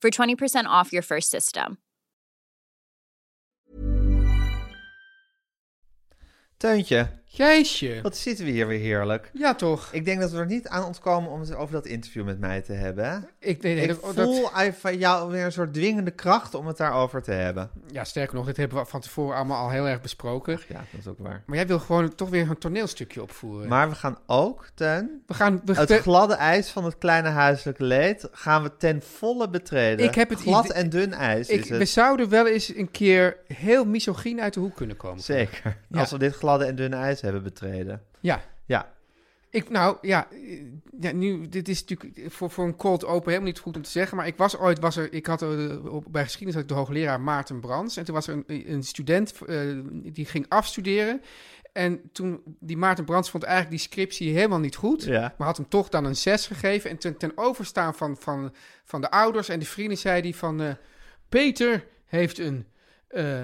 for 20% off your first system. Teuntje, Jeetje. wat zitten we hier weer heerlijk. Ja, toch? Ik denk dat we er niet aan ontkomen om het over dat interview met mij te hebben. hè? Ik, nee, nee, ik dat, dat- voel uit van jou weer een soort dwingende kracht om het daarover te hebben. ja, sterker nog, dit hebben we van tevoren allemaal al heel erg besproken. Ja, dat is ook waar. Maar jij wil gewoon toch weer een toneelstukje opvoeren. Maar we gaan ook, Teun, we gaan... We, het we- gladde ijs van het kleine huiselijke leed gaan we ten volle betreden. Ik heb het Glad idee- en dun ijs ik, is we het. zouden wel eens een keer heel misogyn uit de hoek kunnen komen. Zeker. Ja. Als we dit gladde en dunne ijs hebben betreden. Ja. Ja, Ik, nou, ja, eh, ja, nu, dit is natuurlijk voor, voor een cold open helemaal niet goed om te zeggen, maar ik was ooit, was er, ik had eh, op, bij geschiedenis had ik de hoogleraar Maarten Brands en toen was er een, een student eh, die ging afstuderen en toen, die Maarten Brands vond eigenlijk die scriptie helemaal niet goed, Ja. maar had hem toch dan een 6 gegeven en ten, ten overstaan van, van, van de ouders en de vrienden zei hij van, eh, Peter heeft een... eh,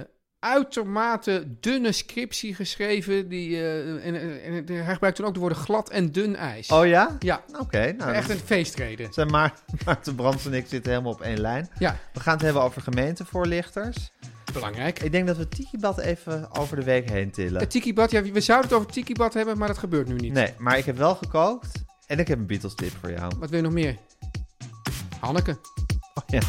uitermate dunne scriptie geschreven. Die, eh, en, en, en hij gebruikt toen ook de woorden glad en dun ijs. Oh ja? Ja, Oké, nou. echt dan een feestreden. Zijn Maart, Maarten Brands en ik zitten helemaal op één lijn. Ja, We gaan het hebben over gemeentevoorlichters. belangrijk. Ik denk dat we Tikibad even over de week heen tillen. Het tikibad, ja, we zouden het over tikibad hebben, maar dat gebeurt nu niet. Nee, maar ik heb wel gekookt. En ik heb een Beatles tip voor jou. Wat wil je nog meer? Hanneke. Oh, Ja.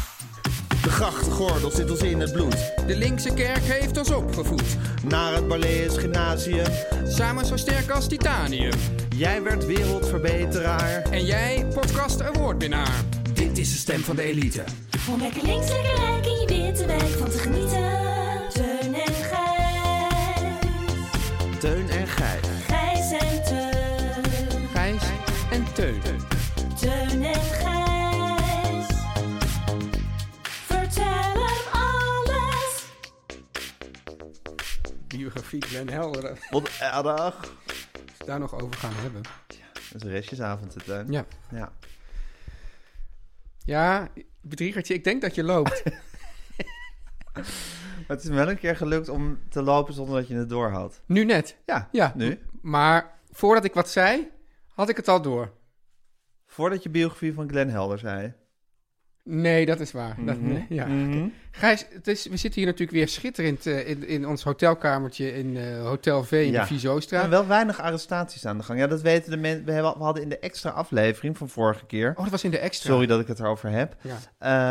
De grachtgordel zit ons in het bloed. De linkse kerk heeft ons opgevoed. Naar het Barlees Gymnasium. Samen zo sterk als titanium. Jij werd wereldverbeteraar. En jij, podcast awardwinnaar. Dit is de stem van de elite. Om lekker links, lekker rijk in je witte wijk van te genieten. Teun en Gijs. Teun en Gijs. Gijs en Teun. Gijs en Teun. Teun en Gijs. Vertel hem alles. Biografie Glenn Helder. eh, Wat eh, erg. Daar nog over gaan hebben. Het is een restjesavond, hè, Teun. Ja. ja. Ja, bedriegertje, ik denk dat je loopt. Maar het is me wel een keer gelukt om te lopen zonder dat je het door had. nu net. Ja, Ja. nu. Maar voordat ik wat zei, had ik het al door. Voordat je biografie van Glenn Helder zei. Nee, dat is waar. Dat- nee, ja. Gijs, het is, we zitten hier natuurlijk weer schitterend eh, in, in ons hotelkamertje in eh, Hotel V in Ja. de Vizoostra. En wel weinig arrestaties aan de gang. Ja, dat weten de mensen. We, hebben- we hadden in de extra aflevering van vorige keer. Oh, dat was in de extra. Sorry dat ik het erover heb. Ja.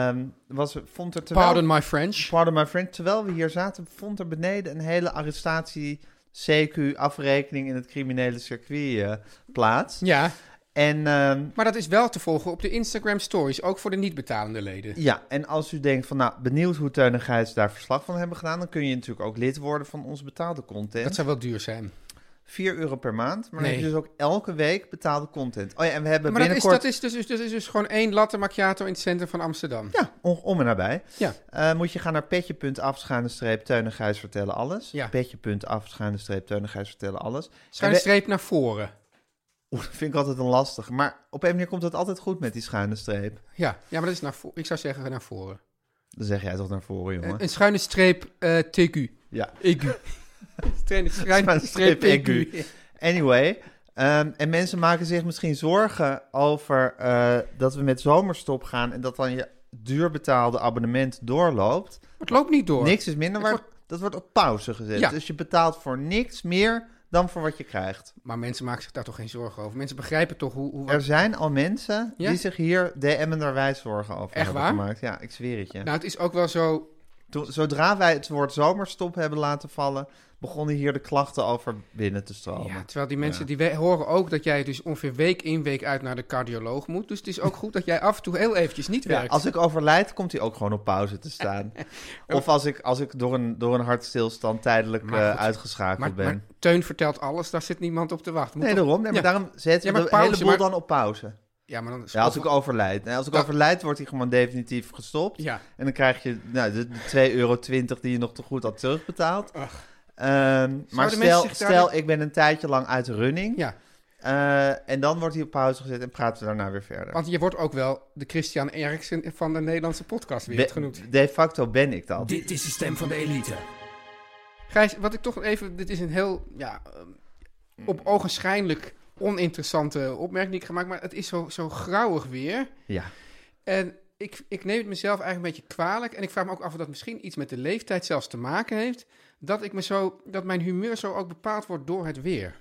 Ehm, was, vond er terwijl, Pardon my French. Pardon my friend. Terwijl we hier zaten, vond er beneden een hele arrestatie CQ-afrekening in het criminele circuit eh, plaats. Ja, En ehm, maar dat is wel te volgen op de Instagram stories, ook voor de niet betalende leden. Ja, en als u denkt van, nou, benieuwd hoe Teun en Gijs daar verslag van hebben gedaan, dan kun je natuurlijk ook lid worden van onze betaalde Dat content. zou wel duur zijn. 4 euro per maand, maar dan Nee. heb je dus ook elke week betaalde content. Oh ja, en we hebben Maar dat is, binnenkort... dat, is dus, dus- dat is dus gewoon één latte macchiato in het centrum van Amsterdam. Ja, om, om en nabij. Ja. Eh, moet je gaan naar petje.af, schuine streep, Teun en Gijs vertellen alles. Ja. Petje.af, schuine streep, Teun en Gijs vertellen alles. En Schuine we- streep naar voren. Oeh, dat vind ik altijd een lastig. Maar op een manier komt dat altijd goed met die schuine streep. Ja, ja maar dat is naar voren. Ik zou zeggen naar voren. Dan zeg jij toch naar voren, jongen. Een, een schuine streep eh TQ. Ja. Egu. Trainen, Maar schuine E een strip egu. Anyway, ehm, en mensen maken zich misschien zorgen over eh, dat we met zomerstop gaan en dat dan je duurbetaalde abonnement doorloopt, Het loopt niet door. niks is minder Het waard. Dat wordt op pauze gezet. Ja. Dus je betaalt voor niks meer dan voor wat je krijgt. Maar mensen maken zich daar toch geen zorgen over. Mensen begrijpen toch hoe... hoe wat- Er zijn al mensen Ja? die zich hier DM'enderwijs zorgen over Echt hebben waar? gemaakt. Ja, ik zweer het je. Nou, het is ook wel zo... Toen, zodra wij het woord zomerstop hebben laten vallen, begonnen hier de klachten over binnen te stromen. Ja, terwijl die mensen die we- horen ook dat jij dus ongeveer week in week uit naar de cardioloog moet. Dus het is ook goed dat jij af en toe heel eventjes niet Ja, werkt. als ik overlijd, komt hij ook gewoon op pauze te staan. of als ik, als ik door, een, door een hartstilstand tijdelijk Maar eh, goed, uitgeschakeld maar, ben. maar Teun vertelt alles, daar zit niemand op te wachten. Moet nee, toch- daarom. Nee, maar ja. daarom zetten Ja, we maar de pauze, hele boel maar- dan op pauze. Ja, maar dan... Ja, als ik overlijd. Nee, als ik Ja. overlijd, wordt hij gewoon definitief gestopt. Ja. En dan krijg je nou, de, de 2,20 euro die je nog te goed had terugbetaald. Ehm, maar mensen stel, zich daar stel dan- ik ben een tijdje lang uit de running. Ja, eh, en dan wordt hij op pauze gezet en praten we daarna weer verder. want je wordt ook wel de Christian Eriksen van de Nederlandse podcastwereld genoemd. Be- de facto ben ik dat. Dit is de stem van de elite. Gijs, wat ik toch even... Dit is een heel, ja, ehm, op ogenschijnlijk oninteressante opmerking die ik gemaakt. Maar het is zo, zo grauwig weer. Ja. En ik, ik neem het mezelf eigenlijk een beetje kwalijk. En ik vraag me ook af of dat misschien iets met de leeftijd zelfs te maken heeft. Dat, ik me zo, dat mijn humeur zo ook bepaald wordt door het weer.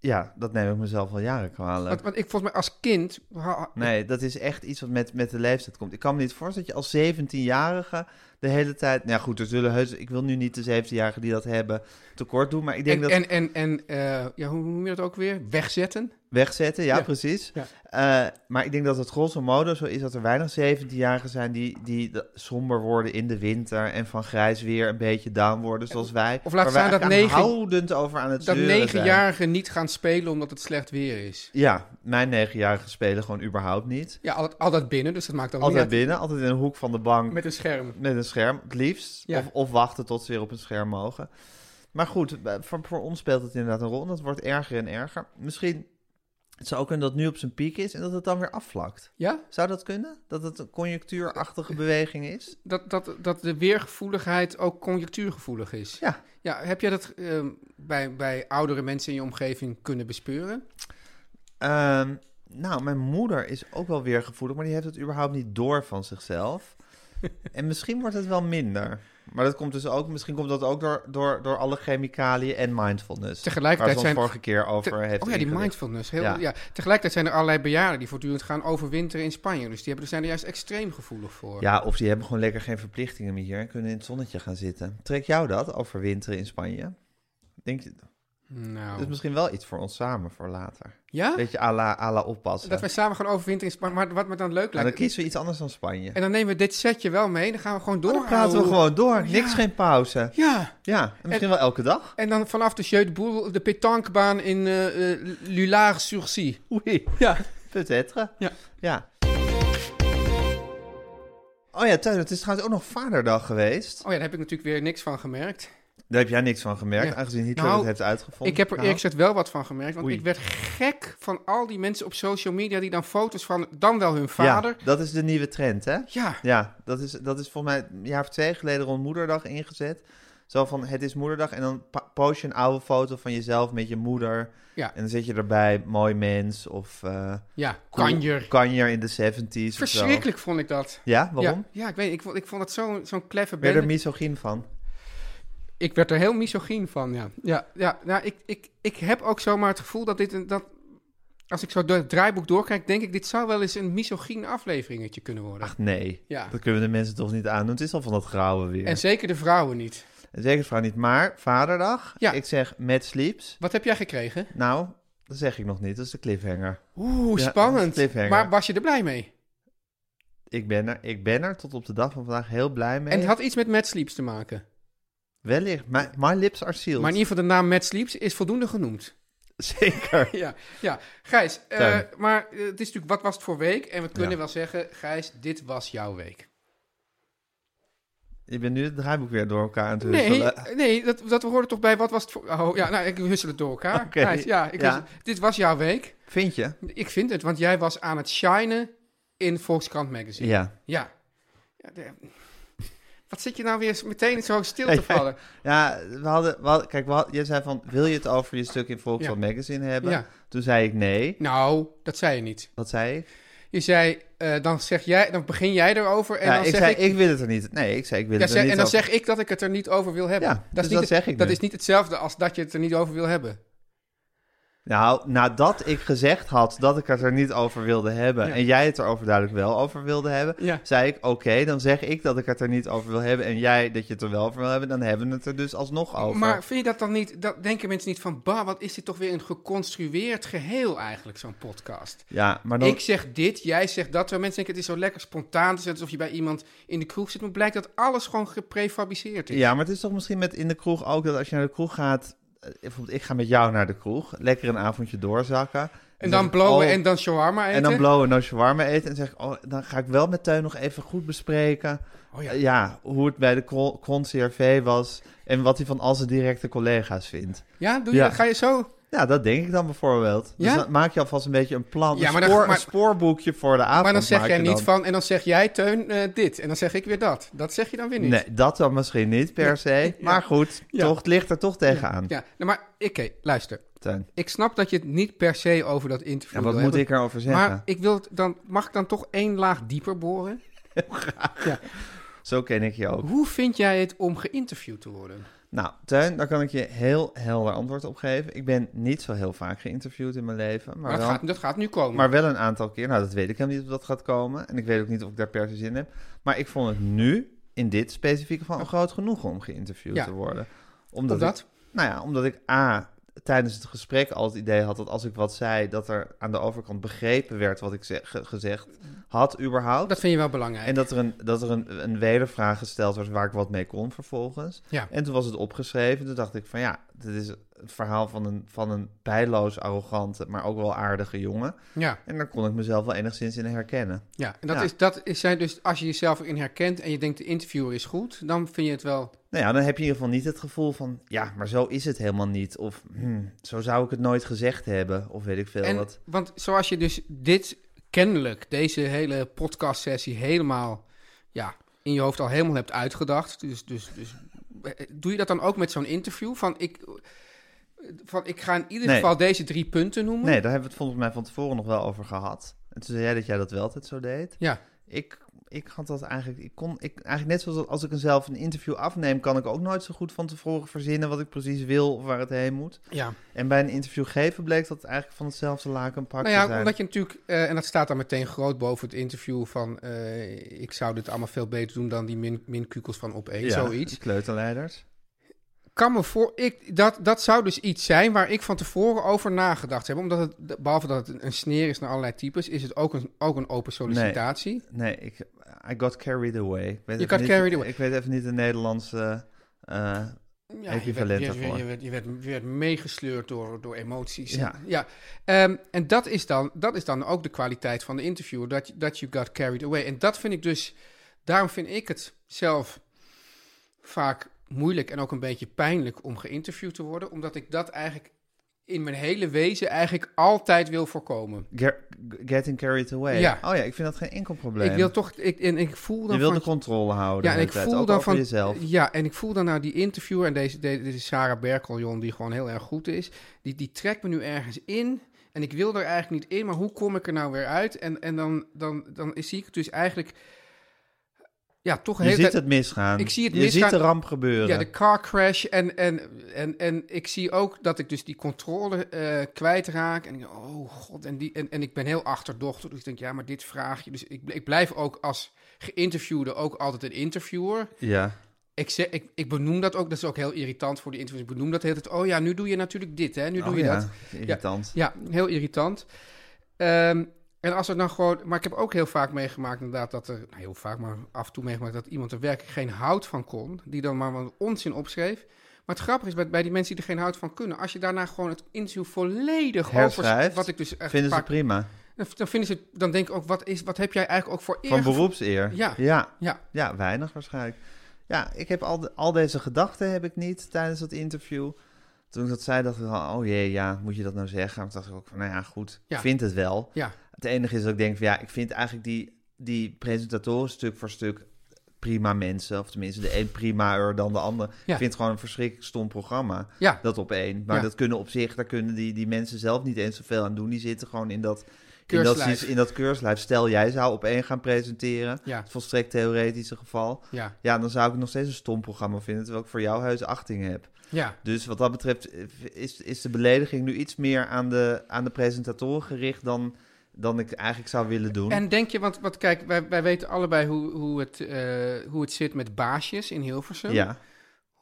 ja, dat neem ik mezelf al jaren kwalijk. Want, want ik volgens mij als kind... ha- ha- Nee, dat is echt iets wat met, met de leeftijd komt. Ik kan me niet voorstellen dat je als 17-jarige de hele tijd... Nou ja, goed, er zullen heus... Ik wil nu niet de 17-jarigen die dat hebben tekort doen, maar ik denk en, dat... en, en, en eh, ja, hoe hoe noem je dat ook weer? Wegzetten. Wegzetten, ja, Ja. precies. Ja. Eh, maar ik denk dat het grosso modo zo is dat er weinig 17-jarigen zijn die, die de- somber worden in de winter en van grijs weer een beetje down worden, zoals wij. Of laat Waar wij staan dat eigenlijk negen- aanhoudend over aan het Dat zeuren zijn. negenjarigen niet gaan spelen omdat het slecht weer is. Ja, mijn negenjarigen spelen gewoon überhaupt niet. Ja, altijd, altijd binnen, dus dat maakt dan Altijd niet uit. binnen, altijd in een hoek van de bank Met een scherm. Met een scherm, het liefst. Ja. Of, of wachten tot ze weer op een scherm mogen. Maar goed, eh, voor, voor ons speelt het inderdaad een rol. En dat wordt erger en erger. Misschien het zou ook kunnen dat het nu op zijn piek is en dat het dan weer afvlakt. Ja? Zou dat kunnen? Dat het een conjunctuurachtige beweging is? Dat, dat, dat de weergevoeligheid ook conjectuurgevoelig is. Ja. Ja, heb jij dat ehm, bij, bij oudere mensen in je omgeving kunnen bespeuren? Ehm, nou, mijn moeder is ook wel weer gevoelig, maar die heeft het überhaupt niet door van zichzelf. en misschien wordt het wel minder. Maar dat komt dus ook, misschien komt dat ook door, door, door alle chemicaliën en mindfulness. Tegelijkertijd waar ze ons zijn- vorige keer over Te- heeft oh ja, die ingelicht. mindfulness. Heel, Ja. ja. Tegelijkertijd zijn er allerlei bejaarden die voortdurend gaan overwinteren in Spanje. Dus die hebben, zijn er juist extreem gevoelig voor. Ja, of die hebben gewoon lekker geen verplichtingen meer hier en kunnen in het zonnetje gaan zitten. Trek jou dat over winteren in Spanje? Denk je, dat is Nou. misschien wel iets voor ons samen voor later. Ja? Dus Beetje à la, à la oppassen. Dat wij samen gaan overwinteren in Spanje. Maar wat me dan leuk Nou, lijkt... dan kiezen we iets anders dan Spanje. Oh, En dan nemen we dit setje wel mee. Dan gaan we gewoon door. dan praten we ouwe. gewoon door. Ja. Niks, geen pauze. Ja. Ja, en misschien wel elke dag. En dan vanaf de Jeu de Boel, de pétanquebaan in eh Oh Lulard-sur-Cie. Oei, Ja. peut-être. Ja. ja. Oh ja, Tuin, het is trouwens ook nog vaderdag geweest. Oh ja, daar heb ik natuurlijk weer niks van gemerkt. Daar heb jij niks van gemerkt, Ja. aangezien Hitler Nou, het heeft uitgevonden. Ik heb er Nou. eerlijk gezegd wel wat van gemerkt. Want Oei. ik werd gek van al die mensen op social media die dan foto's van dan wel hun vader. Ja, dat is de nieuwe trend, hè? Ja, Ja, dat is, dat is volgens mij een jaar of twee geleden rond moederdag ingezet. Zo van, het is moederdag en dan pa- post je een oude foto van jezelf met je moeder. Ja. En dan zet je erbij, mooi mens of... eh, ja, cool- kanjer. Kanjer in de 70s of zo. Verschrikkelijk vond ik dat. Ja, waarom? Ja, ja ik weet niet, ik vond, ik vond dat zo'n zo'n clever Ben je bende. er misogyn van? ik werd er heel misogyn van, ja. Ja, ja nou, ik, ik, ik heb ook zomaar het gevoel dat dit... een- Dat, als ik zo door het draaiboek doorkijk, denk ik... dit zou wel eens een misogyn afleveringetje kunnen worden. Ach nee, Ja. dat kunnen we de mensen toch niet aandoen. Het is al van dat grauwe weer. En zeker de vrouwen niet. En zeker vrouw niet, maar vaderdag. Ja. Ik zeg met sleeps. Wat heb jij gekregen? Nou, dat zeg ik nog niet, dat is de cliffhanger. Oeh, Ja, spannend. cliffhanger. Maar was je er blij mee? Ik ben er, ik ben er tot op de dag van vandaag heel blij mee. En het had iets met Mad Sleeps te maken. Wellicht, my, my lips are sealed. Maar in ieder geval, de naam Mad Sleeps is voldoende genoemd. Zeker. Ja, ja. Gijs, eh, Teun. maar eh, het is natuurlijk wat was het voor week? En we kunnen Ja. wel zeggen, Gijs, dit was jouw week. Je bent nu het draaiboek weer door elkaar aan het Nee, husselen. nee dat, dat hoorde toch bij wat was het voor... Oh, ja, nou, ik hussel het door elkaar. Oké. Gijs, ja, ik Ja. hussel- dit was jouw week. Vind je? Ik vind het, want jij was aan het shinen in Volkskrant Magazine. Ja. Ja. Ja, de- wat zit je nou weer meteen zo stil te vallen? Ja, we hadden, we hadden- kijk, we had- jij zei van, wil je het over je stuk in Volkswagen Magazine hebben? Ja. Toen zei ik nee. Nou, dat zei je niet. Wat zei ik? Je zei, eh, dan zeg jij, dan begin jij erover. En Ja, dan ik zeg zei, ik, ik... wil het er niet. Nee, ik zei, ik wil ja, het er zeg- niet en dan over. zeg ik dat ik het er niet over wil hebben. Ja, is dus niet dat het- zeg ik Dat nu. is niet hetzelfde als dat je het er niet over wil hebben. Nou, nadat ik gezegd had dat ik het er niet over wilde hebben... Ja. en jij het er overduidelijk wel over wilde hebben... Ja. zei ik, oké, dan zeg ik dat ik het er niet over wil hebben... en jij dat je het er wel over wil hebben... dan hebben we het er dus alsnog over. Maar vind je dat dan niet, dat denken mensen niet van, bah, wat is dit toch weer een geconstrueerd geheel eigenlijk, zo'n podcast? ja, maar dan... Ik zeg dit, jij zegt dat. Terwijl mensen denken, het is zo lekker spontaan. Het is net alsof je bij iemand in de kroeg zit. Maar blijkt dat alles gewoon geprefabriceerd is. Ja, maar het is toch misschien met in de kroeg ook dat als je naar de kroeg gaat... eh, Bijvoorbeeld, ik ga met jou naar de kroeg. Lekker een avondje doorzakken. en dan zeg ik, blowen oh, en dan shawarma eten. En dan blowen en shawarma eten. En zeg ik, oh, dan ga ik wel met Teun nog even goed bespreken... Oh ja. ja. ja, hoe het bij de Cron- Cron CRV was... en wat hij van al zijn directe collega's vindt. Ja, doe je Ja. dat? Ga je zo? Ja, dat denk ik dan bijvoorbeeld. Ja? Dus dan maak je alvast een beetje een plan, Ja, maar een, dan- spoor- maar- een spoorboekje voor de avond. Maar dan zeg maak jij je niet dan. van... En dan zeg jij, Teun, eh, dit. En dan zeg ik weer dat. Dat zeg je dan weer niet. Nee, dat dan misschien niet per se. Maar goed, Ja. toch, het ligt er toch tegenaan, Ja, nou, maar oké, luister. Teun. Ik snap dat je het niet per se over dat interview Ja, wat wil moet ik hebben. erover zeggen? Maar ik wil het dan, mag ik dan toch één laag dieper boren? Zo ken ik je ook. Hoe vind jij het om geïnterviewd te worden? Nou, Teun, daar kan ik je heel helder antwoord op geven. Ik ben niet zo heel vaak geïnterviewd in mijn leven. Maar, Maar dat, wel, gaat, dat gaat nu komen. maar wel een aantal keer. Nou, dat weet ik helemaal niet of dat gaat komen. En ik weet ook niet of ik daar per se zin in heb. Maar ik vond het nu, in dit specifieke geval, een groot genoegen om geïnterviewd Ja. te worden. Of Omdat ik- dat? Nou ja, omdat ik A. tijdens het gesprek al het idee had dat als ik wat zei, dat er aan de overkant begrepen werd wat ik ze- ge- gezegd had, überhaupt. Dat vind je wel belangrijk. En dat er, een, dat er een, een wedervraag gesteld was waar ik wat mee kon vervolgens. Ja. En toen was het opgeschreven. Toen dacht ik van ja, dit is het verhaal van een, van een pijloos, arrogante, maar ook wel aardige jongen. Ja, En daar kon ik mezelf wel enigszins in herkennen. ja. En dat, Ja. Is, dat is, zijn dus, als je jezelf erin herkent en je denkt de interviewer is goed, dan vind je het wel. Nou ja, dan heb je in ieder geval niet het gevoel van ja, maar zo is het helemaal niet. Of hmm, zo zou ik het nooit gezegd hebben. Of weet ik veel En, wat. Want zoals je dus dit kennelijk, deze hele podcastsessie helemaal ja, in je hoofd al helemaal hebt uitgedacht. Dus, dus, dus eh, doe je dat dan ook met zo'n interview? Van ik, van ik ga in ieder Nee. geval deze drie punten noemen. Nee, daar hebben we het volgens mij van tevoren nog wel over gehad. En toen zei jij dat jij dat wel altijd zo deed. Ja, Ik, ik had dat eigenlijk... Ik kon, ik, eigenlijk net zoals als ik een zelf een interview afneem... kan ik ook nooit zo goed van tevoren verzinnen... wat ik precies wil of waar het heen moet. ja. En bij een interview geven bleek dat het eigenlijk van hetzelfde laken een pak Nou te ja, zijn. omdat je natuurlijk, eh, en dat staat dan meteen groot boven het interview van eh, ik zou dit allemaal veel beter doen dan die min, minkukels van op één, ja, zoiets. Kleuterleiders. kan me voor. Ik, dat, dat zou dus iets zijn waar ik van tevoren over nagedacht heb. Omdat het, behalve dat het een sneer is naar allerlei types, is het ook een, ook een open sollicitatie. Nee, ik, I got carried away. Ik weet You even got niet- carried away. Ik weet even niet de Nederlandse... eh, Ja, Equivalent je werd, je, werd, daarvoor. je, werd, je, werd, je werd meegesleurd door, door emoties. Ja. Ehm, en dat is, dan, dat is dan ook de kwaliteit van de interviewer, dat, je- dat you got carried away. En dat vind ik dus, daarom vind ik het zelf vaak moeilijk en ook een beetje pijnlijk om geïnterviewd te worden. Omdat ik dat eigenlijk in mijn hele wezen eigenlijk altijd wil voorkomen. get- getting carried away. Ja. Oh ja, ik vind dat geen enkel probleem. Ik wil toch, ik, en ik voel dan je wil de van, controle houden. ja, en de ik hele tijd, voel ook dan over van, jezelf. ja, en ik voel dan nou die interviewer en deze, deze, deze Sarah Berkeljon die gewoon heel erg goed is, die, die trekt me nu ergens in en ik wil er eigenlijk niet in, maar hoe kom ik er nou weer uit? En, en dan, dan, dan is- zie ik het dus eigenlijk, ja, toch Je heel ziet het misgaan. Ik zie het je misgaan. ziet de ramp gebeuren. ja, de car crash en, en, en, en ik zie ook dat ik dus die controle eh, kwijtraak en ik denk, oh god, en, die, en, en ik ben heel achterdochtig, dus ik denk, ja, maar dit vraag je, dus ik, ik blijf ook als geïnterviewde ook altijd een interviewer. Ja. Ik, zeg, ik, ik benoem dat ook, dat is ook heel irritant voor die interviews. Ik benoem dat de hele tijd. Oh ja, nu doe je natuurlijk dit, hè? Nu doe Oh je ja, dat. is Irritant. Ja, heel irritant. Ehm, en als het dan gewoon. Maar ik heb ook heel vaak meegemaakt, inderdaad, dat er. Nou, heel vaak, maar af en toe meegemaakt dat iemand er werkelijk geen hout van kon. Die dan maar wat onzin opschreef. Maar het grappige is bij, bij die mensen die er geen hout van kunnen. Als je daarna gewoon het interview volledig over. Herschrijft, Wat ik dus echt Vinden ze vaak- prima. dan, dan vinden ze. Dan denk ik ook, wat, is, wat heb jij eigenlijk ook voor eer? Van gevo- beroepseer. Ja. Ja. Ja, Ja, weinig waarschijnlijk. Ja, ik heb al, de- al deze gedachten heb ik niet tijdens dat interview. Toen ik dat zei, dacht ik al, oh jee, ja, moet je dat nou zeggen? Maar toen dacht ik ook van, nou ja, goed, Ja. ik vind het wel. ja. Het enige is dat ik denk van, ja, ik vind eigenlijk die, die presentatoren stuk voor stuk prima mensen. Of tenminste, de een primaer dan de ander. Ja. Ik vind het gewoon een verschrikkelijk stom programma. Ja. Dat op één. Maar Ja. dat kunnen op zich, daar kunnen die, die mensen zelf niet eens zoveel aan doen. Die zitten gewoon in dat, in dat, Keurslijf. in dat keurslijf, stel jij zou op één gaan presenteren, Ja. het volstrekt theoretische geval, Ja, ja, dan zou ik het nog steeds een stom programma vinden, terwijl ik voor jou heus achting heb. ja. Dus wat dat betreft eh, is, is de belediging nu iets meer aan de, aan de presentatoren gericht dan, dan ik eigenlijk zou willen doen. En denk je, want, want kijk, wij, wij weten allebei hoe, hoe, het, eh, hoe het zit met baasjes in Hilversum. ja.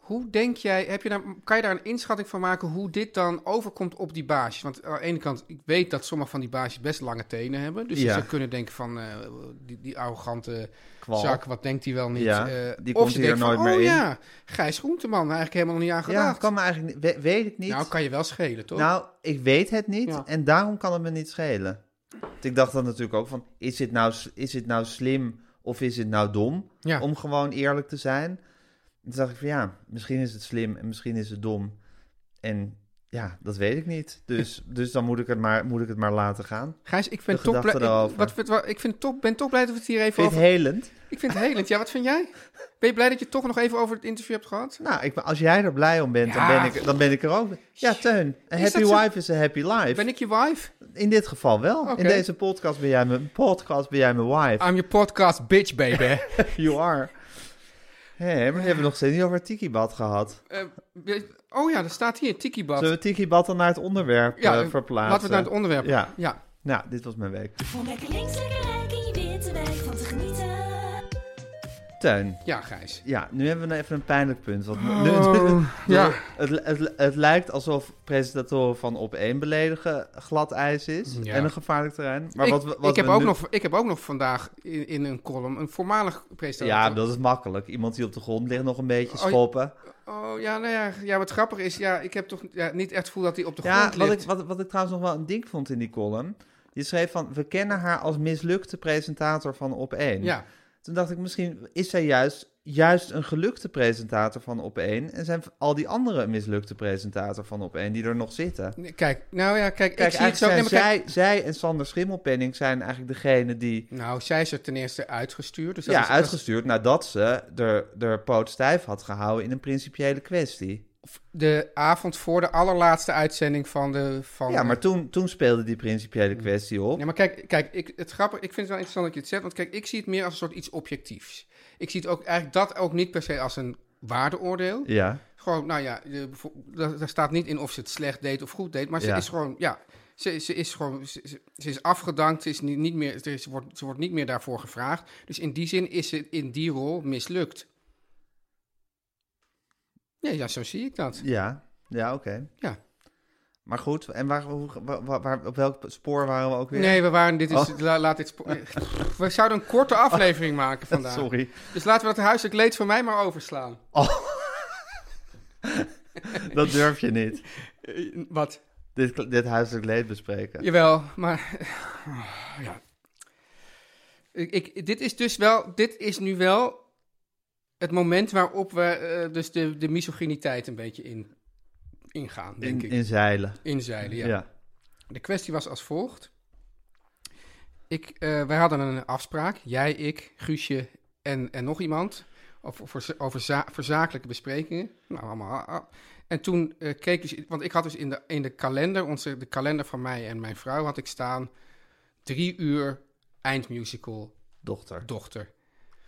Hoe denk jij, heb je daar, kan je daar een inschatting van maken hoe dit dan overkomt op die baasjes? Want aan de ene kant, ik weet dat sommige van die baasjes best lange tenen hebben. Dus je Ja. zou kunnen denken van, eh, die, die arrogante Kwal. zak, wat denkt hij wel niet? Ja, Eh, die of komt je hier denkt van, nooit meer oh in. ja, Gijs Groenteman, eigenlijk helemaal nog niet aan Ja, gedacht. kan me eigenlijk niet, we- weet ik niet. Nou, kan je wel schelen, toch? Nou, ik weet het niet Ja. en daarom kan het me niet schelen. Want Ik dacht dan natuurlijk ook van, is dit nou, s- is dit nou slim of is het nou dom? Ja. Om gewoon eerlijk te zijn. En Toen dacht ik van ja, misschien is het slim en misschien is het dom. En ja, dat weet ik niet. Dus, dus dan moet ik, het maar, moet ik het maar laten gaan. Gijs, ik ben de top, gedachte blij- ik, daarover. wat, wat- wat- ik vind top, ben toch blij dat we het hier even Vind je over... het helend? Ik vind het helend. Ja, wat vind jij? Ben je blij dat je toch nog even over het interview hebt gehad? Nou, ik, als jij er blij om bent, Ja. dan, ben ik, dan ben ik er ook. Ja, Teun, een Is happy dat zo? wife is a happy life. Ben ik je wife? In dit geval wel. Oké. In deze podcast ben jij mijn, podcast ben jij mijn wife. I'm your podcast bitch, baby. You are. Hé, maar we hebben nog steeds niet over Tiki Bad gehad. Eh, weet- oh ja, er staat hier Tiki Bad. Zullen we Tiki Bad dan naar het onderwerp ja, eh, eh, verplaatsen? Laten we het naar het onderwerp. Ja. ja. Nou, dit was mijn week. Om lekker links, lekker rijk in je witte wijk van te genieten. Tuin. Ja, Gijs. Ja, nu hebben we even een pijnlijk punt. Want nu- Oh, ja. het, het, het lijkt alsof presentatoren van op één beledigen glad ijs is. Ja. En een gevaarlijk terrein. Maar ik, wat, we- wat ik, heb we ook nu- nog, ik heb ook nog vandaag in, in een column een voormalig presentator. Ja, dat is makkelijk. Iemand die op de grond ligt nog een beetje Oh, ja. schoppen. Oh ja, nou ja, ja, wat grappig is, ja, ik heb toch ja, niet echt het gevoel dat hij op de Ja, grond wat ik, ligt. wat, wat ik trouwens nog wel een ding vond in die column. Je schreef van, we kennen haar als mislukte presentator van Op 1. ja, Toen dacht ik, misschien is zij juist, juist een gelukte presentator van Op 1. En zijn al die andere mislukte presentator van Op 1 die er nog zitten. Nee, kijk, nou ja, kijk, Kijk, ik zie het eigenlijk zo. zijn nee, maar kijk- zij, zij en Sander Schimmelpenning zijn eigenlijk degene die... nou, zij is er ten eerste uitgestuurd. Dus dat ja, is- uitgestuurd nadat ze er, er poot stijf had gehouden in een principiële kwestie. de avond voor de allerlaatste uitzending van de. Van Ja, maar de- toen, toen speelde die principiële kwestie op. Nee, maar kijk, kijk ik, het grappig, ik vind het wel interessant dat je het zegt. Want kijk, ik zie het meer als een soort iets objectiefs. Ik zie het ook eigenlijk dat ook niet per se als een waardeoordeel. Ja, Gewoon, nou ja, je- bijvo- daar daar staat niet in of ze het slecht deed of goed deed. Maar ze Ja. is gewoon, ja, ze, ze is gewoon, ze, ze- ze is afgedankt. Ze, is niet, niet meer, ze, is- wordt, ze wordt niet meer daarvoor gevraagd. Dus in die zin is ze in die rol mislukt. Nee, ja, zo zie ik dat. ja, ja oké. Ja. Maar goed, en waar, hoe- waar, waar- waar- op welk spoor waren we ook weer? Nee, we waren. Dit is, Oh. la- laat dit spo- eh, we zouden een korte aflevering maken vandaag. Sorry. Dus laten we dat huiselijk leed van mij maar overslaan. Dat durf je niet. Eh, wat? Dit, dit huiselijk leed bespreken. Jawel, maar. ja. Ik, ik- dit is dus wel. Dit is nu wel. Het moment waarop we eh, dus de, de misogyniteit een beetje in, ingaan, denk in, ik. in zeilen. Inzeilen, Ja. ja. De kwestie was als volgt. Ik, eh, wij hadden een afspraak, jij, ik, Guusje en, en nog iemand, over, voor, over za- voor zakelijke besprekingen. Nou, allemaal. ah, ah. En toen eh, keek dus, want ik had dus in de, in de kalender, onze, de kalender van mij en mijn vrouw, had ik staan drie uur eindmusical Dochter. dochter.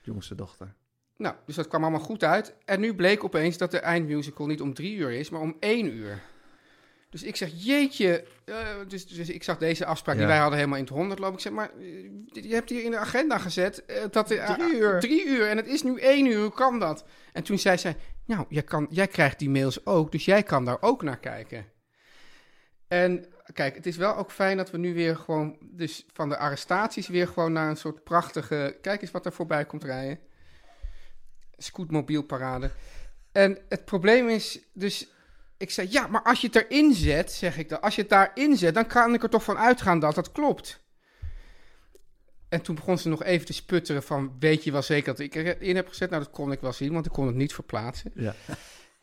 Jongste dochter. Nou, dus dat kwam allemaal goed uit. En nu bleek opeens dat de eindmusical niet om drie uur is, maar om één uur. Dus ik zeg, jeetje. eh, dus, dus ik zag deze afspraak die Ja. wij hadden helemaal in het honderd lopen. Ik zeg, maar eh, je hebt hier in de agenda gezet eh, dat... de- Drie uur. Drie uur. En het is nu één uur. Hoe kan dat? En toen zei zij, nou, jij, kan, jij krijgt die mails ook, dus jij kan daar ook naar kijken. En kijk, het is wel ook fijn dat we nu weer gewoon... Dus van de arrestaties weer gewoon naar een soort prachtige... Kijk eens wat er voorbij komt rijden. Scootmobielparade. En het probleem is dus... Ik zei, ja, maar als je het erin zet, zeg ik dan. Als je het daarin zet, dan kan ik er toch van uitgaan dat dat klopt. En toen begon ze nog even te sputteren van... Weet je wel zeker dat ik erin heb gezet? Nou, dat kon ik wel zien, want ik kon het niet verplaatsen. Ja.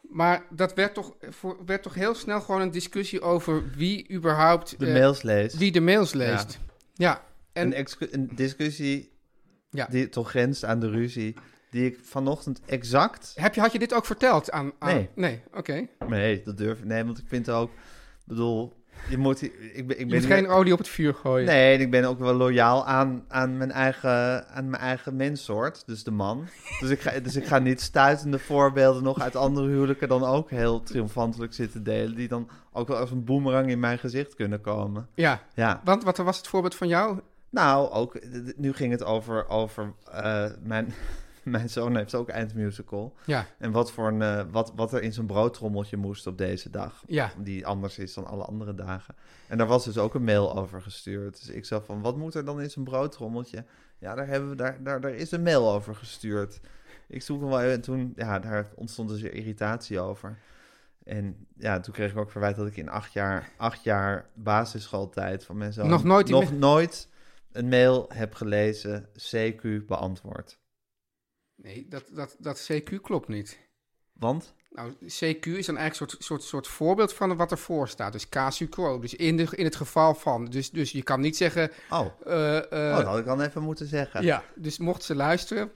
Maar dat werd toch, voor, werd toch heel snel gewoon een discussie over wie überhaupt... De eh, mails leest. Wie de mails leest. Ja. en- Een, excu- een discussie Ja. die toch grenst aan de ruzie. Die ik vanochtend exact... Heb je, had je dit ook verteld aan... aan Nee. Nee, oké. Nee, dat durf ik. Nee, want ik vind ook... Ik bedoel, Je moet, ik ben, ik Je ben moet geen olie op het vuur gooien. Nee, en ik ben ook wel loyaal aan, aan, mijn, eigen, aan mijn eigen menssoort, dus de man. Dus ik, ga, dus ik ga niet stuitende voorbeelden nog uit andere huwelijken dan ook heel triomfantelijk zitten delen, die dan ook wel als een boemerang in mijn gezicht kunnen komen. Ja, Ja. want wat was het voorbeeld van jou? Nou, ook, d- d- nu ging het over, over eh, mijn, mijn zoon heeft ook eindmusical. Ja, En wat, voor een, eh, wat, wat er in zijn broodtrommeltje moest op deze dag. Ja. Die anders is dan alle andere dagen. En daar was dus ook een mail over gestuurd. Dus ik zei van, wat moet er dan in zijn broodtrommeltje? Ja, daar, hebben we, daar, daar, daar is een mail over gestuurd. Ik zoek hem wel even. En toen, ja, daar ontstond dus weer irritatie over. En ja, toen kreeg ik ook verwijt dat ik in acht jaar, acht jaar basisschooltijd van mensen... Nog nooit die nog nooit een mail heb gelezen, CQ beantwoord. nee, dat, dat, dat CQ klopt niet. Want? Nou, CQ is dan eigenlijk een soort, soort, soort voorbeeld van wat ervoor staat. Dus casu quo. Dus in, de, in het geval van. Dus, dus je kan niet zeggen. Oh, eh, eh, oh dat had ik dan even moeten zeggen. ja, dus mocht ze luisteren,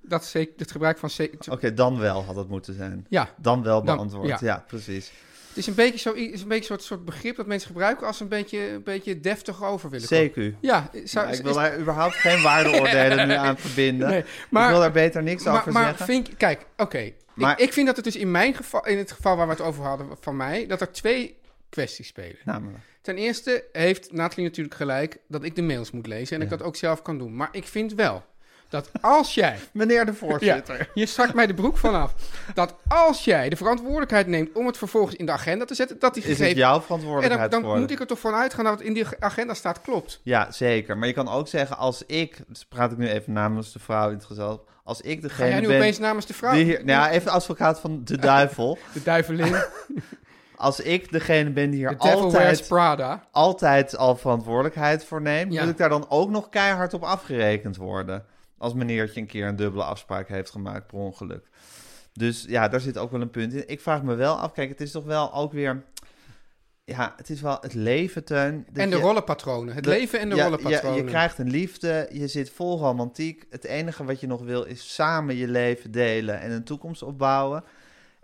dat C, het gebruik van CQ. Oké, dan wel had het moeten zijn. Ja, Dan wel Dan- beantwoord. ja. ja. precies. het is een beetje zo- het is een beetje soort, soort begrip dat mensen gebruiken als ze een beetje, een beetje deftig over willen komen. CQ. Ja, zou, Maar ik wil is- daar überhaupt geen waardeoordelen nu aan verbinden. Nee, maar, maar- ik wil daar beter niks maar, over maar zeggen. vind, je- kijk, oké. Ik, Maar- ik vind dat het dus in mijn geval, in het geval waar we het over hadden van mij, dat er twee kwesties spelen. Namelijk. Ten eerste heeft Nathalie natuurlijk gelijk dat ik de mails moet lezen en ik dat ook zelf kan doen. Maar ik vind wel dat als jij. Meneer de voorzitter. Ja, je strak mij de broek vanaf. Dat als jij de verantwoordelijkheid neemt om het vervolgens in de agenda te zetten, dat die Is gegeven. het jouw en dan, verantwoordelijkheid dan geworden? moet ik er toch van uitgaan dat wat in die agenda staat klopt. Ja, zeker. Maar je kan ook zeggen, als ik... Dus praat ik nu even namens de vrouw in het gezelschap. Als ik degene Ga jij nu ben... opeens namens de vrouw? die hier, nou ja, even de advocaat van de duivel. De duivelin, de Als ik degene ben die hier devil wears altijd Prada. altijd al verantwoordelijkheid voor neem, Ja. moet ik daar dan ook nog keihard op afgerekend worden. Als meneertje een keer een dubbele afspraak heeft gemaakt per ongeluk. Dus ja, daar zit ook wel een punt in. Ik vraag me wel af, kijk, het is toch wel ook weer... Ja, het is wel het leven, Teun. dat En de je- rollenpatronen. Het de- leven en de ja, rollenpatronen. ja, je krijgt een liefde, je zit vol romantiek. Het enige wat je nog wil is samen je leven delen en een toekomst opbouwen.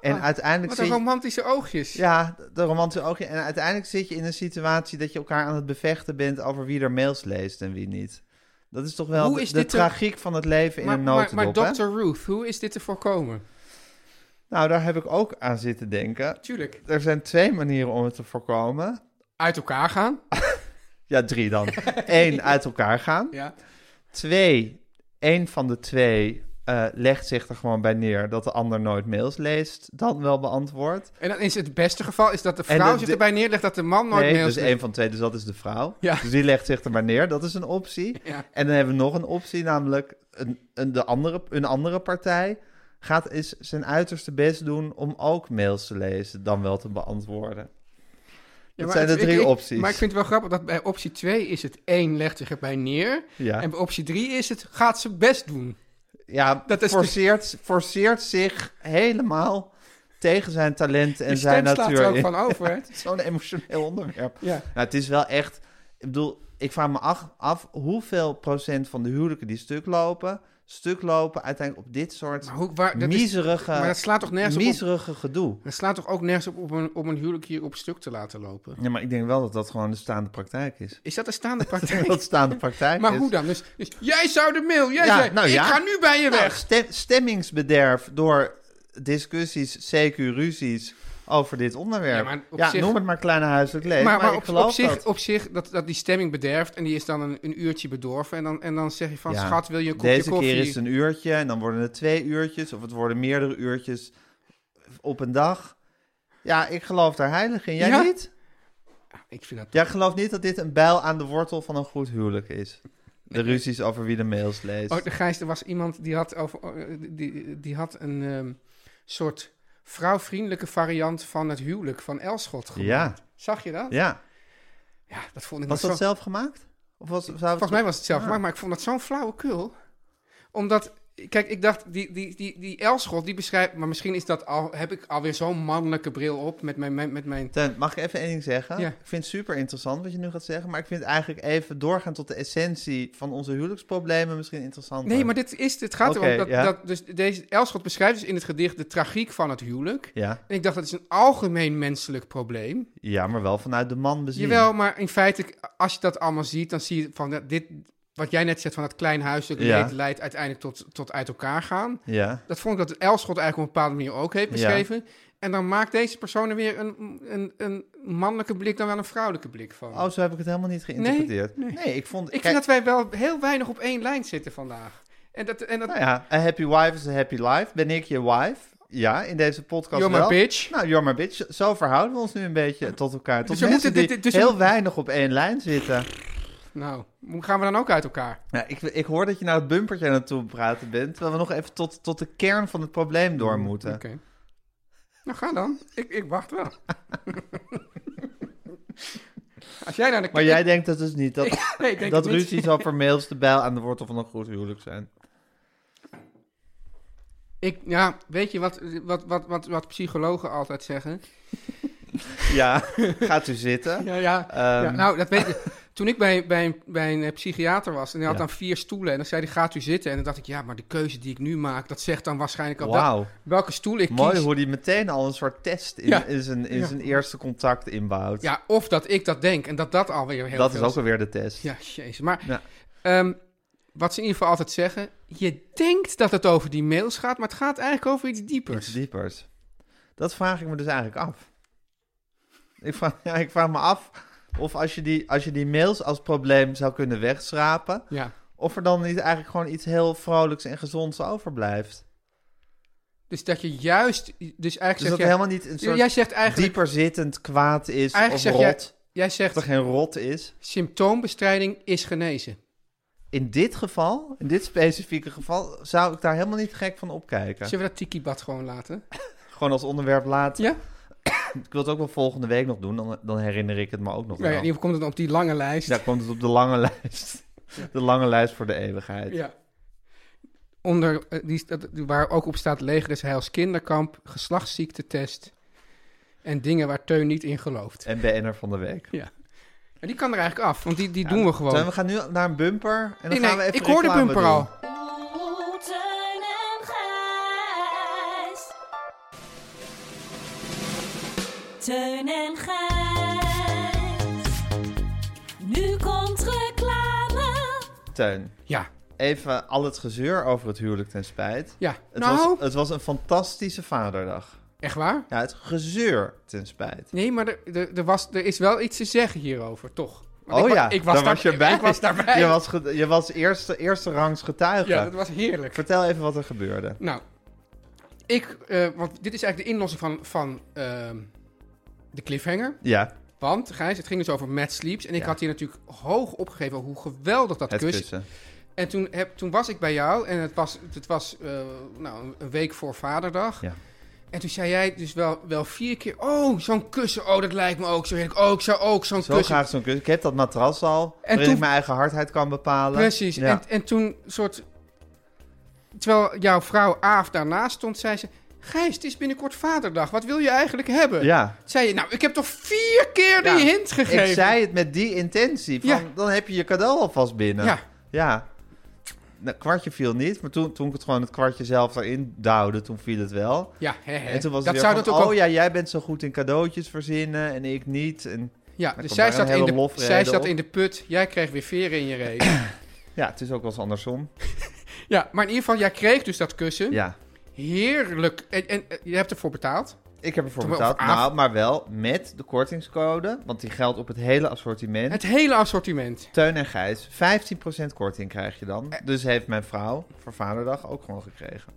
En Ah, uiteindelijk Wat zie een je... romantische oogjes. Ja, de romantische oogje. En uiteindelijk zit je in een situatie dat je elkaar aan het bevechten bent over wie er mails leest en wie niet. Dat is toch wel Hoe de, is de dit te- tragiek van het leven in maar, een maar, maar notendop. hè? Dr. Ruth, hoe is dit te voorkomen? Nou, daar heb ik ook aan zitten denken. Tuurlijk. Er zijn twee manieren om het te voorkomen. Uit elkaar gaan. Ja, drie dan. Eén, uit elkaar gaan. Ja. Twee, één van de twee eh, legt zich er gewoon bij neer dat de ander nooit mails leest, dan wel beantwoord. En dan is het beste geval is dat de En vrouw dat zich de- erbij neerlegt dat de man nooit nee, mails dus leest. één van twee, dus dat is de vrouw. Ja. Dus die legt zich er maar neer, dat is een optie. Ja. En dan hebben we nog een optie, namelijk een, een, de andere, een andere partij gaat is zijn uiterste best doen om ook mails te lezen, dan wel te beantwoorden. Ja, dat maar zijn het- de drie ik- ik- opties. Maar ik vind het wel grappig dat bij optie 2 is het één legt zich erbij neer. Ja. En bij optie 3 is het gaat ze best doen. ja, dat is forceert, forceert zich helemaal tegen zijn talent en Je zijn stem slaat natuur. er ook in. van over, hè? Het is Zo'n emotioneel onderwerp. Ja. Nou, het is wel echt. Ik bedoel, ik vraag me af, af hoeveel procent van de huwelijken die stuk lopen, stuk lopen uiteindelijk op dit soort Maar, hoe, waar, dat is- miserige, maar dat slaat toch nergens op, op... miserige gedoe. Dat slaat toch ook nergens op om een, om een huwelijk hier op stuk te laten lopen? Ja, maar ik denk wel dat dat gewoon de staande praktijk is. Is dat een staande Dat praktijk? het staande praktijk maar is. hoe dan? Dus, dus jij zou de mail, jij Ja, zei, nou ik ja. ga nu bij je Nou, weg. ste- stemmingsbederf door discussies, CQ-ruzies over dit onderwerp. Ja, Ja, maar op zich- noem het maar kleine huiselijk leven. maar, Maar, maar ik op, geloof op zich, dat. op zich dat, dat die stemming bederft en die is dan een, een uurtje bedorven. En dan, en dan zeg je van, Ja. schat, wil je een kopje Deze koffie? keer is het een uurtje en dan worden het twee uurtjes of het worden meerdere uurtjes op een dag. Ja, ik geloof daar heilig in. Jij Ja? niet? Ik vind dat... Jij gelooft niet dat dit een bijl aan de wortel van een goed huwelijk is. De ruzies over wie de mails leest. Oh, de Gijs, er was iemand die had, over, eh, die, die had een ehm, soort vrouwvriendelijke variant van het huwelijk van Elschot gemaakt. ja, Zag je dat? ja. Ja, dat vond ik Was nog dat zo... zelf gemaakt? Of was, Ah. zou het- Volgens mij was het zelf, maar, maar ik vond dat zo'n flauwekul. Omdat Kijk, ik dacht, die, die, die, die Elschot, die beschrijft... Maar misschien is dat al, heb ik alweer zo'n mannelijke bril op met mijn... mijn- Met mijn Teun, mag ik even één ding zeggen? Ja. Ik vind het super interessant wat je nu gaat zeggen, maar ik vind het eigenlijk even doorgaan tot de essentie van onze huwelijksproblemen misschien interessant. nee, maar dit, is, dit gaat Oké, erom dat, ja. dat... Dus deze Elschot beschrijft dus in het gedicht de tragiek van het huwelijk. Ja, En ik dacht, dat is een algemeen menselijk probleem. ja, maar wel vanuit de man bezien. Jawel, maar in feite, als je dat allemaal ziet, dan zie je van dat dit, wat jij net zegt van dat klein huiselijk Ja. leed leidt uiteindelijk tot, tot uit elkaar gaan. Ja. Dat vond ik dat Elschot eigenlijk op een bepaalde manier ook heeft beschreven. En dan maakt deze persoon er weer een, een, een mannelijke blik dan wel een vrouwelijke blik van. Oh, zo heb ik het helemaal niet geïnterpreteerd. Nee, nee. ik vond... ik kijk, vind dat wij wel heel weinig op één lijn zitten vandaag. En dat, en dat Nou ja, a happy wife is a happy life. Ben ik je wife? Ja, in deze podcast You're my wel. bitch. Nou, you're my bitch. Zo verhouden we ons nu een beetje tot elkaar. Tot Dus we mensen moeten dit- die dit- dus we heel moeten- weinig op één lijn zitten. nou, gaan we dan ook uit elkaar? Nou, ik, ik hoor dat je naar het bumpertje aan het toe praten bent, terwijl we nog even tot, tot de kern van het probleem door moeten. Oké. Nou, ga dan. Ik, ik wacht wel. Als jij naar de Maar jij denkt dus dus niet dat, Nee, ik denk dat het niet. ruzies al vermeelst de bijl aan de wortel van een goed huwelijk zijn. Ik, ja, weet je wat, wat, wat, wat, wat psychologen altijd zeggen? Ja, gaat u zitten. Ja, ja. Ehm, nou, dat weet je. Toen ik bij, bij, een, bij een eh, psychiater was en hij had Ja. dan vier stoelen en dan zei hij, gaat u zitten? En dan dacht ik, ja, maar de keuze die ik nu maak, dat zegt dan waarschijnlijk al wel- Wauw, welke stoel ik mooi kies. hoe die meteen al een soort test in, Ja. in, zijn, in Ja. zijn eerste contact inbouwt. Ja, of dat ik dat denk en dat dat alweer heel dat veel is ook alweer de test. Ja, jezus. Maar Ja. ehm, wat ze in ieder geval altijd zeggen, je denkt dat het over die mails gaat, maar het gaat eigenlijk over iets diepers. Iets diepers. Dat vraag ik me dus eigenlijk af. Ik vraag, ja, ik vraag me af of als je, die, als je die mails als probleem zou kunnen wegschrapen, Ja. of er dan niet eigenlijk gewoon iets heel vrolijks en gezonds overblijft. Dus dat je juist, dus eigenlijk Dus zeg dat je, er helemaal niet een soort jij zegt eigenlijk, dieper zittend kwaad is of Eigenlijk rot. zeg jij Dat er zegt, geen rot is. Symptoombestrijding is genezen. In dit geval, in dit specifieke geval, zou ik daar helemaal niet gek van opkijken. Zullen we dat tikibad gewoon laten? Gewoon als onderwerp laten. Ja? Ik wil het ook wel volgende week nog doen, dan, dan herinner ik het me ook nog Nou ja, wel. in ieder geval komt het dan op die lange lijst. Daar komt het op de lange lijst. De lange lijst voor de eeuwigheid. Ja. Onder, eh, die, dat- waar ook op staat leger is heils kinderkamp, geslachtsziektetest en dingen waar Teun niet in gelooft. En BN'er van de week. Ja. En die kan er eigenlijk af, want die, die Ja, doen we gewoon. Teun, we gaan nu naar een bumper. En dan nee, gaan nee, we even ik hoor de reclame bumper doen. al. Oeh, Teun en Gijs. Teun en Gijs. Nu komt reclame. Teun, Ja, even al het gezeur over het huwelijk ten spijt. ja. Het, nou, was, eh, het was een fantastische vaderdag. echt waar? Ja, het gezeur ten spijt. Nee, maar er, er, er, was, er is wel iets te zeggen hierover, toch? Want oh ik wa- ja, ik was, daar daar- was je bij. Ik was daarbij. Je was, ge- je was eerste, eerste rangs getuige. ja, dat was heerlijk. Vertel even wat er gebeurde. Nou, ik, eh, want dit is eigenlijk de inlossing van, van ehm, de cliffhanger. Ja, Want, Gijs, het ging dus over Mad Sleeps. En ik Ja. had hier natuurlijk hoog opgegeven hoe geweldig dat het kus. kussen. En toen, heb, toen was ik bij jou en het was, het was eh, nou, een week voor Vaderdag. Ja. En toen zei jij dus wel, wel vier keer, oh, zo'n kussen, oh, dat lijkt me ook zo heerlijk. Oh, ik zou ook zo'n Zo kussen... graag zo'n kus. Ik heb dat matras al, waarin toen- ik mijn eigen hardheid kan bepalen. Precies. Ja. En, en toen soort... Terwijl jouw vrouw Aaf daarnaast stond, zei ze... Gijs, het is binnenkort vaderdag. Wat wil je eigenlijk hebben? ja. Zei je, nou, ik heb toch vier keer Ja, die hint gegeven? Ik zei het met die intentie. Van, Ja. Dan heb je je cadeau alvast binnen. Ja. Ja. Nou, kwartje viel niet, maar toen, toen ik het gewoon het kwartje zelf erin duwde, toen viel het wel. Ja, hè, hè. En toen was het dat weer zou van, dat ook oh al- ja, jij bent zo goed in cadeautjes verzinnen en ik niet. En Ja, komt daar dus zij een zat, in hele de, lofrede zij zat op. in de put, jij kreeg weer veren in je reet. ja, het is ook wel eens andersom. ja, maar in ieder geval, jij kreeg dus dat kussen. Ja, Heerlijk. En, en eh, je hebt ervoor betaald. ik heb ervoor Toen we betaald. op af- Nou, maar wel met de kortingscode, want die geldt op het hele assortiment. Het hele assortiment. Teun en Gijs, 15% korting krijg je dan. Eh. Dus heeft mijn vrouw voor Vaderdag ook gewoon gekregen.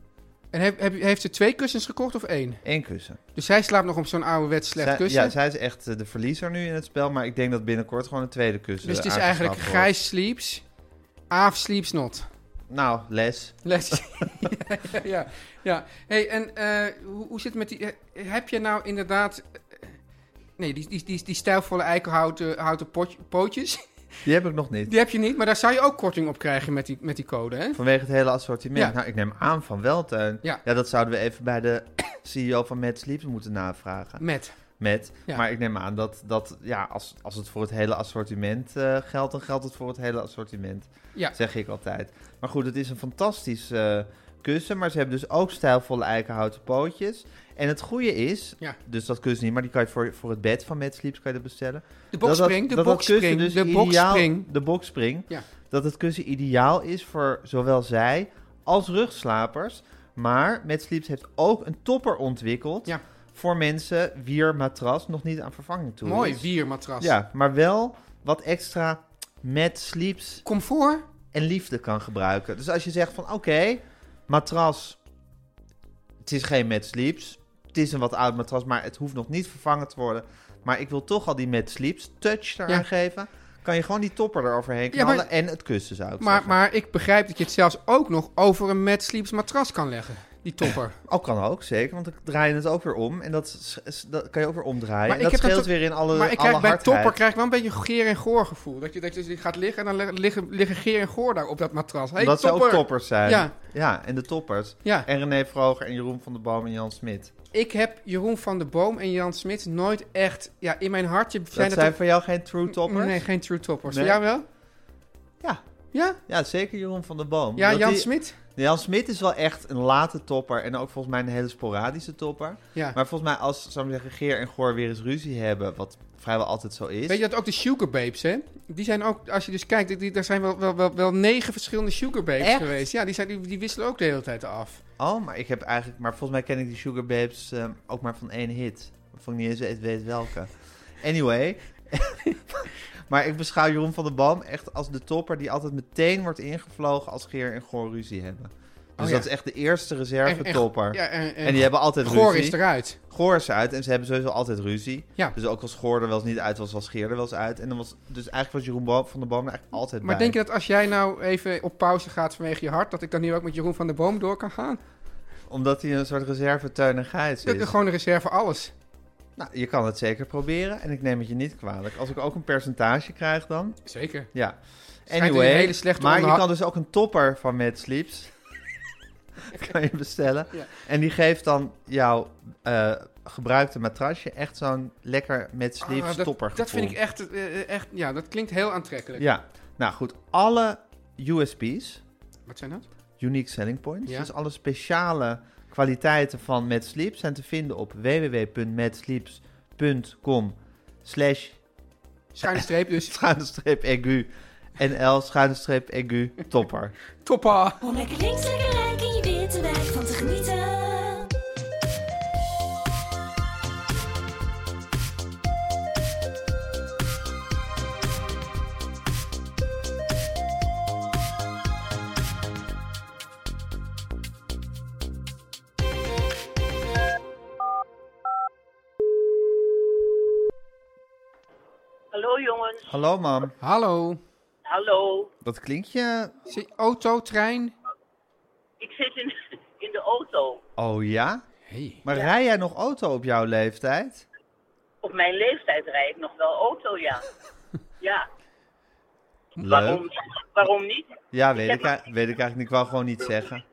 En heb, heb, heeft ze twee kussens gekocht of één? Eén kussen. Dus zij slaapt nog op zo'n ouderwets slecht Zij- kussen. Ja, zij is echt eh, de verliezer nu in het spel. Maar ik denk dat binnenkort gewoon een tweede kussen Dus het is aangeschaft eigenlijk wordt. Gijs sleeps, Aaf sleeps not. Nou, les. Let's- ja, ja, ja. Hey, en eh, hoe, hoe zit het met die... eh, Heb je nou inderdaad... eh, Nee, die, die, die, die stijlvolle eikenhouten houten potj- pootjes. Die heb ik nog niet. Die heb je niet, maar daar zou je ook korting op krijgen met die, met die code, hè? Vanwege het hele assortiment. Ja. Nou, ik neem aan van wel, Teun. Ja. dat zouden we even bij de CEO van Mad Sleeps moeten navragen. Met. Met. Ja. Maar ik neem aan dat, dat ja, als, als het voor het hele assortiment eh, geldt, dan geldt het voor het hele assortiment. Ja. Zeg ik altijd. Maar goed, het is een fantastisch eh, kussen. Maar ze hebben dus ook stijlvolle eikenhouten pootjes. En het goede is, Ja. dus dat kussen niet, maar die kan je voor, voor het bed van Mad Sleeps kan je dat bestellen. De bokspring, dat, de dat dat kussen bokspring, dus de ideaal- bokspring. De bokspring. Ja. Dat het kussen ideaal is voor zowel zij als rugslapers. Maar Mad Sleeps heeft ook een topper ontwikkeld Ja. voor mensen wier matras nog niet aan vervanging toe Mooi, is. wiermatras. Ja, maar wel wat extra Mad Sleeps Comfort? en liefde kan gebruiken. Dus als je zegt van oké, matras, het is geen Mad Sleeps. Het is een wat oud matras, maar het hoeft nog niet vervangen te worden. Maar ik wil toch al die Mad Sleeps touch eraan Ja. geven. Kan je gewoon die topper eroverheen Ja, knallen maar- en het kussen zou ik Maar, zeggen. maar ik begrijp dat je het zelfs ook nog over een Mad Sleeps matras kan leggen. Die topper. Ook kan ook, zeker. Want dan draai je het ook weer om. En dat, is- is- dat kan je ook weer omdraaien. Maar en dat ik heb dat scheelt toch- weer in alle maar ik alle krijg, bij hardheid. topper krijg ik wel een beetje geer en goor gevoel. Dat je, dat je gaat liggen en dan le- liggen, liggen geer en goor daar op dat matras. Hey, Omdat ze topper. ook toppers zijn. Ja. ja, en de toppers. Ja, En René Vroger en Jeroen van der Boom en Jan Smit. ik heb Jeroen van der Boom en Jan Smit nooit echt... Ja, in mijn hartje zijn Dat dat... zijn toch- voor jou geen true toppers? Nee, geen true toppers. Nee. Voor jou wel? Ja. Ja? Ja, zeker Jeroen van der Boom. Ja, Omdat Jan die- Smit? Jan Smit is wel echt een late topper. En ook volgens mij een hele sporadische topper. Ja. Maar volgens mij als, zou ik zeggen, Geer en Goor weer eens ruzie hebben. Wat vrijwel altijd zo is. Weet je dat ook de sugar babes, hè? Die zijn ook, als je dus kijkt, die- die, er zijn wel, wel, wel, wel negen verschillende sugar babes Echt? geweest. Ja, die, zijn, die, die wisselen ook de hele tijd af. Oh, maar ik heb eigenlijk... Maar volgens mij ken ik die Sugar Babes ehm, ook maar van één hit. Waarvan ik niet eens weet- weet welke. Anyway. maar ik beschouw Jeroen van der Boom echt als de topper... die altijd meteen wordt ingevlogen als Geer en Goor ruzie hebben. Dus Oh, ja. dat is echt de eerste En- reserve en- topper. Ja, en, en, En die hebben altijd Goor ruzie. is eruit. Goor is uit en ze hebben sowieso altijd ruzie. Ja. Dus ook als Goor er wel eens niet uit was, was Geer er wel eens uit. En dan was, dus eigenlijk was Jeroen Bo- van der Boom er eigenlijk altijd Maar bij. denk je dat als jij nou even op pauze gaat vanwege je hart, dat ik dan hier ook met Jeroen van der Boom door kan gaan? Omdat hij een soort reserve Teun en Gijs Dat is. is gewoon een reserve alles. Nou, je kan het zeker proberen en ik neem het je niet kwalijk. Als ik ook een percentage krijg dan, Zeker. ja. Schijnt Anyway, een hele slechte maar je onderha- kan dus ook een topper van Mad Sleeps kan je bestellen. Ja. En die geeft dan jouw eh, gebruikte matrasje echt zo'n lekker Mad Sleeps Ah, dat, topper dat vind ik echt, eh, echt, ja, dat klinkt heel aantrekkelijk. Ja, nou goed, alle USP's, Wat zijn dat? Unique Selling Points, Ja. dus alle speciale kwaliteiten van Mad Sleeps zijn te vinden op www.madsleeps.com slash Schuine streep dus. schuine streep egu. NL schuine streep egu topper. Toppa! Om lekker links, lekker rijk in je witte wijk van te genieten. Hallo jongens, Hallo mam, Hallo. hallo. dat klinkt je... Zit- Auto, trein? Ik zit in, in de auto. Oh ja? Hey. Maar rij jij nog auto op jouw leeftijd? Op mijn leeftijd rijd ik nog wel auto, ja. Ja, waarom, Leuk. waarom niet? Ja, weet ik, ei- weet ik eigenlijk niet. Ik wou gewoon niet zeggen.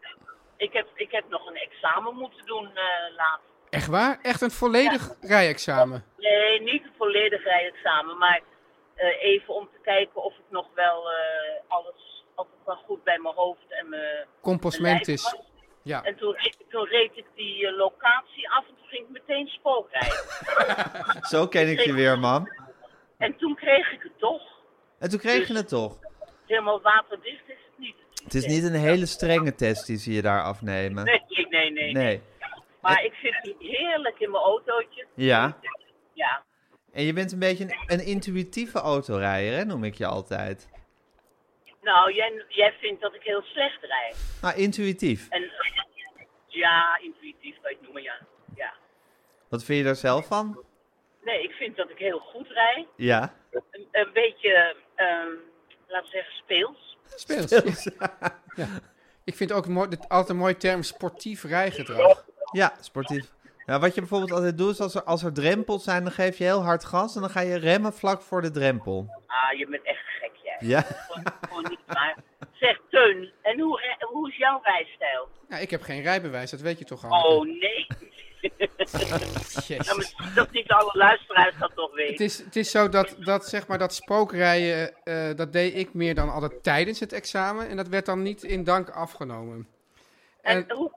Ik heb, ik heb nog een examen moeten doen eh laatst. Echt waar? Echt een volledig rijexamen? Nee, niet een volledig rijexamen, maar eh, even om te kijken of ik nog wel eh, alles of het wel goed bij mijn hoofd en mijn mijn Compostment lijf is. was. Ja. En toen, reed- toen reed ik die eh, locatie af en toen ging ik meteen spookrijden. Zo ken ik je weer mam. en toen kreeg ik het toch. En toen kreeg je het toch? Helemaal waterdicht is het niet. Het is niet een hele strenge test die ze je daar afnemen. Nee, nee, nee. nee. Nee. Maar ik zit hier heerlijk in mijn autootje. Ja. Ja, En je bent een beetje een, een intuïtieve autorijder, hè, noem ik je altijd. nou, jij, jij vindt dat ik heel slecht rijd. Nou, intuïtief. En ja, intuïtief kan je het noemen, ja. ja. Wat vind je daar zelf van? Nee, ik vind dat ik heel goed rijd. Ja. Een, een beetje, ehm, laten we zeggen, speels. Speels. Ja. Ja. Ik vind ook mooi, dat- altijd een mooie term sportief rijgedrag. Ja, sportief. Nou, wat je bijvoorbeeld altijd doet, is als er, als er drempels zijn, dan geef je heel hard gas en dan ga je remmen vlak voor de drempel. Ah, je bent echt gek. erg. Ja. Gewoon, gewoon niet waar. Zeg, Teun, en hoe, eh, hoe is jouw rijstijl? Nou, ik heb geen rijbewijs, dat weet je toch al. Oh, nee. Jezus. Dat niet alle luisteraars dat toch Het weten. is, het is zo dat, dat, zeg maar, dat spookrijden, eh, dat deed ik meer dan altijd tijdens het examen. En dat werd dan niet in dank afgenomen. eh, En hoe...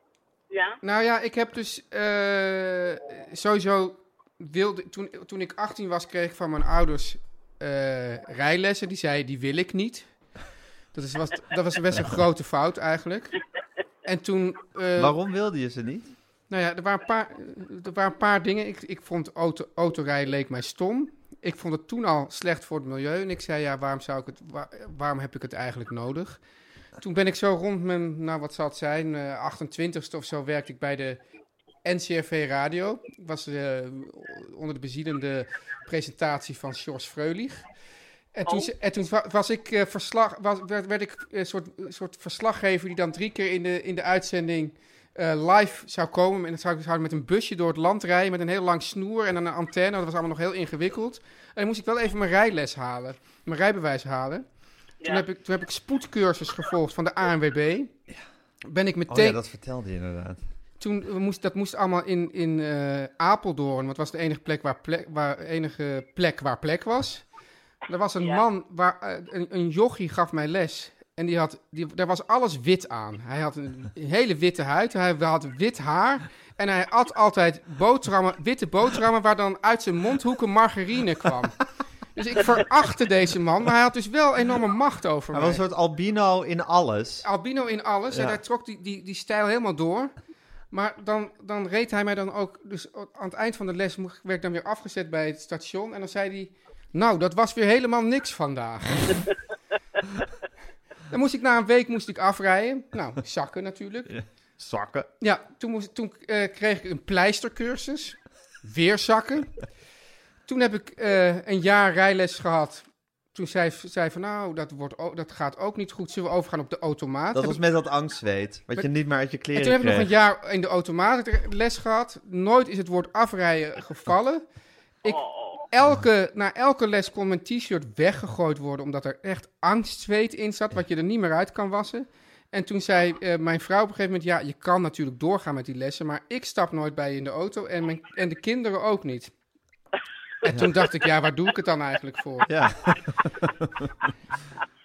Ja? Nou ja, ik heb dus eh, sowieso wilde. Toen, toen ik 18 was, kreeg ik van mijn ouders eh, rijlessen. Die zeiden: die wil ik niet. Dat, is, was, dat was best een grote fout eigenlijk. En toen. eh, Waarom wilde je ze niet? nou ja, er waren een paar, er waren een paar dingen. Ik, ik vond auto, autorijden leek mij stom. Ik vond het toen al slecht voor het milieu. En ik zei, ja, waarom, zou ik het, waar- waarom heb ik het eigenlijk nodig? Toen ben ik zo rond mijn, nou wat zal het zijn, eh 28ste of zo werkte ik bij de NCRV Radio. Ik was eh, onder de bezielende presentatie van George Freulich. En toen, Oh. ze- en toen wa- was ik, eh, verslag, was, werd, werd ik een soort, soort verslaggever die dan drie keer in de, in de uitzending eh, live zou komen. En dan zou ik zou ik met een busje door het land rijden met een heel lang snoer en dan een antenne. Dat was allemaal nog heel ingewikkeld. En dan moest ik wel even mijn rijles halen, mijn rijbewijs halen. Toen, Ja. heb ik, toen heb ik spoedcursus gevolgd van de ANWB. Ben ik meteen Oh ja, dat vertelde je inderdaad. toen we moest, dat moest allemaal in, in eh, Apeldoorn, want het was de enige plek waar plek, waar, enige plek, waar plek was. Er was een Ja. man, waar, eh, een, een jochie gaf mij les. En die had, die, daar was alles wit aan. Hij had een, een hele witte huid, hij had wit haar. En hij at altijd boterhammen, witte boterhammen waar dan uit zijn mondhoeken margarine kwam. Dus ik verachtte deze man, maar hij had dus wel enorme macht over Hij mij. was een soort albino in alles. Albino in alles. En Ja. hij trok die, die, die stijl helemaal door. Maar dan, dan reed hij mij dan ook... Dus aan het eind van de les moest- werd ik dan weer afgezet bij het station. En dan zei hij... Nou, dat was weer helemaal niks vandaag. dan moest ik na een week moest ik afrijden. Nou, zakken natuurlijk. Zakken. Ja, toen, moest, toen eh, kreeg ik een pleistercursus. Weer zakken. Toen heb ik eh, een jaar rijles gehad. Toen zei zij van, nou, dat, wordt, ook- dat gaat ook niet goed. Zullen we overgaan op de automaat? Dat Heb was met dat angstzweet, wat je niet meer uit je kleren en toen heb ik nog kreeg. een jaar in de automaat les gehad. Nooit is het woord afrijden gevallen. Ik, elke, na elke les kon mijn t-shirt weggegooid worden, omdat er echt angstzweet in zat, wat je er niet meer uit kan wassen. En toen zei eh, mijn vrouw op een gegeven moment, ja, je kan natuurlijk doorgaan met die lessen, maar ik stap nooit bij je in de auto en, mijn, en de kinderen ook niet. En toen dacht ik, ja, waar doe ik het dan eigenlijk voor? Ja,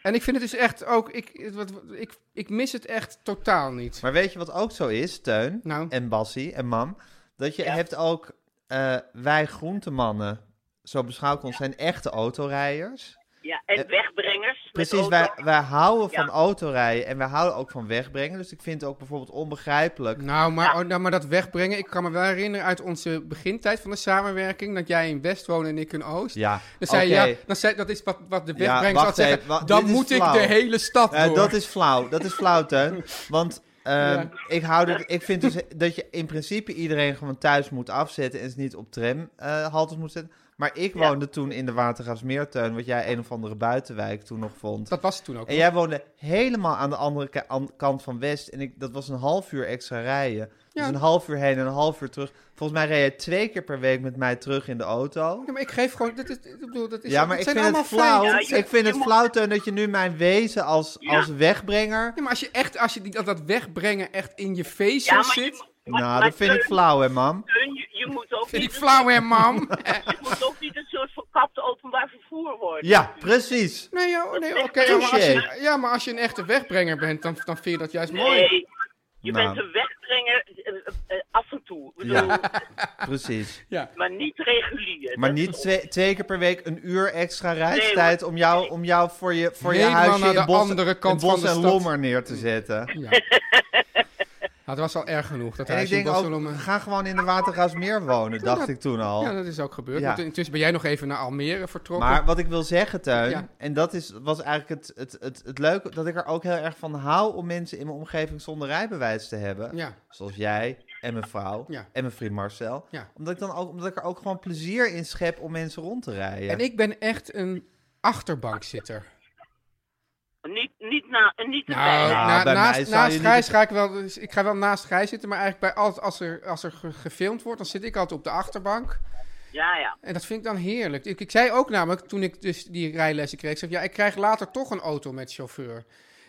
En ik vind het dus echt ook, ik, het- wat- ik, ik mis het echt totaal niet. maar weet je wat ook zo is, Teun Nou. en Bassie en Mam? Dat je hebt ook, eh, wij groentemannen, zo beschouw ik ons, zijn echte autorijders. ja. En Eh, wegbrengers. met Precies, auto. wij, wij houden van Ja. autorijden en wij houden ook van wegbrengen. Dus ik vind het ook bijvoorbeeld onbegrijpelijk. Nou maar, oh, nou, maar dat wegbrengen. Ik kan me wel herinneren uit onze begintijd van de samenwerking. dat jij in West woonde en ik in Oost. Ja, Dan zei je, oké. ja, dan zei, dat is wat, wat de Ja, wegbrengers wacht altijd even, zeggen. wacht, dan dit is moet ik flauw. de hele stad Eh, door. dat is flauw. Dat is flauw, Teun. Want ehm, Ja. ik, hou er, ik vind dus dat je in principe iedereen gewoon thuis moet afzetten en ze niet op tramhaltes moet zetten. Maar ik Ja. woonde toen in de Watergraafsmeer, Teun, wat jij een of andere buitenwijk toen nog vond. Dat was het toen ook. En jij woonde helemaal aan de andere ka- aan- kant van West. En ik, dat was een half uur extra rijden. Dus Ja. een half uur heen en een half uur terug. Volgens mij reed jij twee keer per week met mij terug in de auto. Ja, maar ik geef gewoon. Dat is, ik bedoel, dat is, Ja, maar dat ik zijn vind het allemaal flauw. feiten. Ja, je- ik vind je het moet- flauw, Teun, dat je nu mijn wezen als, Ja. als wegbrenger Ja, maar als je echt als je die, dat, dat wegbrengen echt in je feest Ja, maar je zit. moet- maar- Nou, maar dat vind ik Teun, flauw, hè, mam? Teun, je, je moet ook Vind ik niet flauw, hè, mam? Eh, Het moet ook niet een soort verkapte openbaar vervoer worden. Ja, precies. nee, joh, nee, oké. Touché. maar als je- ja, maar als je een echte wegbrenger bent, dan, dan vind je dat juist mooi. Nee, je Nou. bent een wegbrenger eh, eh, eh, af en toe. Ik bedoel, Ja, precies. Ja. Maar niet regulier. Maar Dat niet is- twee, twee keer per week een uur extra reistijd om jou, om jou voor je, voor je Helemaal huisje naar in de bos, andere kant in bos van de en stad. lommer neer te zetten. Ja. Nou, dat was al erg genoeg. Dat En hij ik denk ook, Barcelona... ga gewoon in de Watergaasmeer wonen, dacht ik toen Ja, al. dat is ook gebeurd. Ja. Want Intussen ben jij nog even naar Almere vertrokken. Maar wat ik wil zeggen, Tuin, Ja. en dat is, was eigenlijk het, het, het, het leuke, dat ik er ook heel erg van hou om mensen in mijn omgeving zonder rijbewijs te hebben. Ja. Zoals jij en mijn vrouw Ja. en mijn vriend Marcel. Ja. Omdat, ik dan ook, omdat ik er ook gewoon plezier in schep om mensen rond te rijden. En ik ben echt een achterbankzitter. Niet, niet, na, eh, niet Nou, erbij. Nou, na- bij mij naast, zou naast je niet- Gijs ga ik wel... dus ik ga wel naast Gijs zitten, maar eigenlijk bij altijd als er, als er ge- gefilmd wordt, dan zit ik altijd op de achterbank. Ja, ja. En dat vind ik dan heerlijk. Ik, ik zei ook namelijk, toen ik dus die rijlessen kreeg, ik zei, ja, ik krijg later toch een auto met chauffeur. Dat,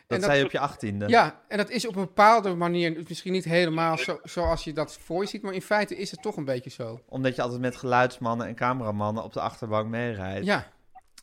dat- zei je op je achttiende. Ja, en dat is op een bepaalde manier misschien niet helemaal zo, zoals je dat voor je ziet, maar in feite is het toch een beetje zo. Omdat je altijd met geluidsmannen en cameramannen op de achterbank meerijdt. Ja,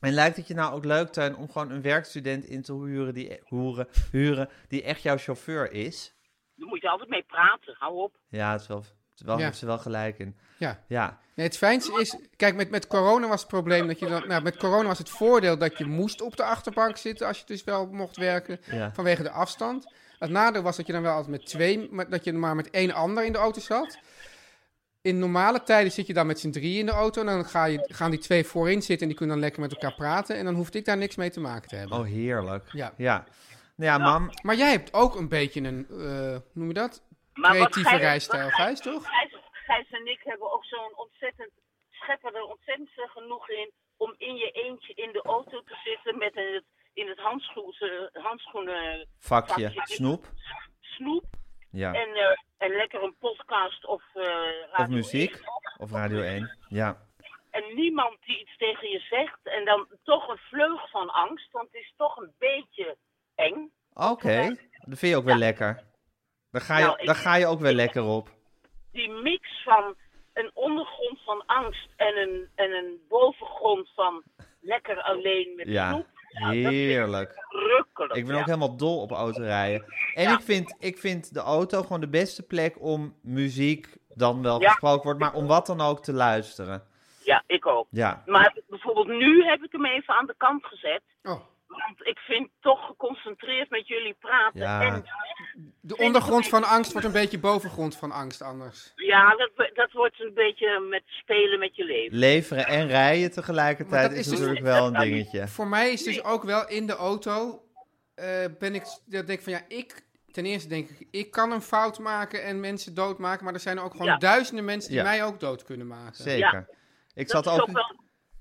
En lijkt het je nou ook leuk, Tuin, om gewoon een werkstudent in te huren die, huren, huren, die echt jouw chauffeur is? Daar moet je altijd mee praten. Hou op. Ja, het is wel, het is wel, Ja. heeft ze wel gelijk in. ja. Ja, Nee, het fijnste is, kijk, met, met corona was het probleem dat je dan, nou, met corona was het voordeel dat je moest op de achterbank zitten als je dus wel mocht werken Ja. vanwege de afstand. Het nadeel was dat je dan wel altijd met twee, maar dat je maar met één ander in de auto zat. In normale tijden zit je dan met z'n drieën in de auto en dan ga je, gaan die twee voorin zitten en die kunnen dan lekker met elkaar praten en dan hoefde ik daar niks mee te maken te hebben. oh heerlijk. Ja. ja. Nou ja, mam, Maar jij hebt ook een beetje een, eh, hoe noem je dat? Maar wat Creatieve Gijs- rijstijl, wat Gijs, toch? Gijs, Gijs en ik hebben ook zo'n ontzettend, scheppen er ontzettend veel genoeg in om in je eentje in de auto te zitten met in het, in het handschoen, eh, handschoenen vakje, vakje. snoep. snoep Ja. en, eh, en lekker een podcast of eh, radio Of muziek. 1 op. Of Radio 1. Ja. En niemand die iets tegen je zegt en dan toch een vleug van angst, want het is toch een beetje eng. Oké, dat vind je ook wel lekker. Daar ga, je, Nou, ik- daar ga je ook wel lekker op. die mix van een ondergrond van angst en een, en een bovengrond van lekker alleen met Ja, snoep. heerlijk. Rukkelijk. Ik ben ook ja. helemaal dol op autorijden. En ik, vind, ik vind de auto gewoon de beste plek om muziek, dan wel Ja. gesproken wordt, maar om wat dan ook te luisteren. ja, ik ook. Ja, Maar bijvoorbeeld nu heb ik hem even aan de kant gezet. Oh, Want ik vind toch geconcentreerd met jullie praten. Ja. En de ondergrond van angst wordt een beetje bovengrond van angst anders. ja, dat, dat wordt een beetje met spelen met je leven. leveren en rijden tegelijkertijd Maar is, dat is dus- natuurlijk wel een dingetje. Voor mij is dus ook wel in de auto, eh, ben ik, dat denk ik van ja, ik, ten eerste denk ik, ik kan een fout maken en mensen doodmaken, maar er zijn ook gewoon Ja. duizenden mensen die Ja. mij ook dood kunnen maken. Zeker. Ik Dat zat is ook ook... wel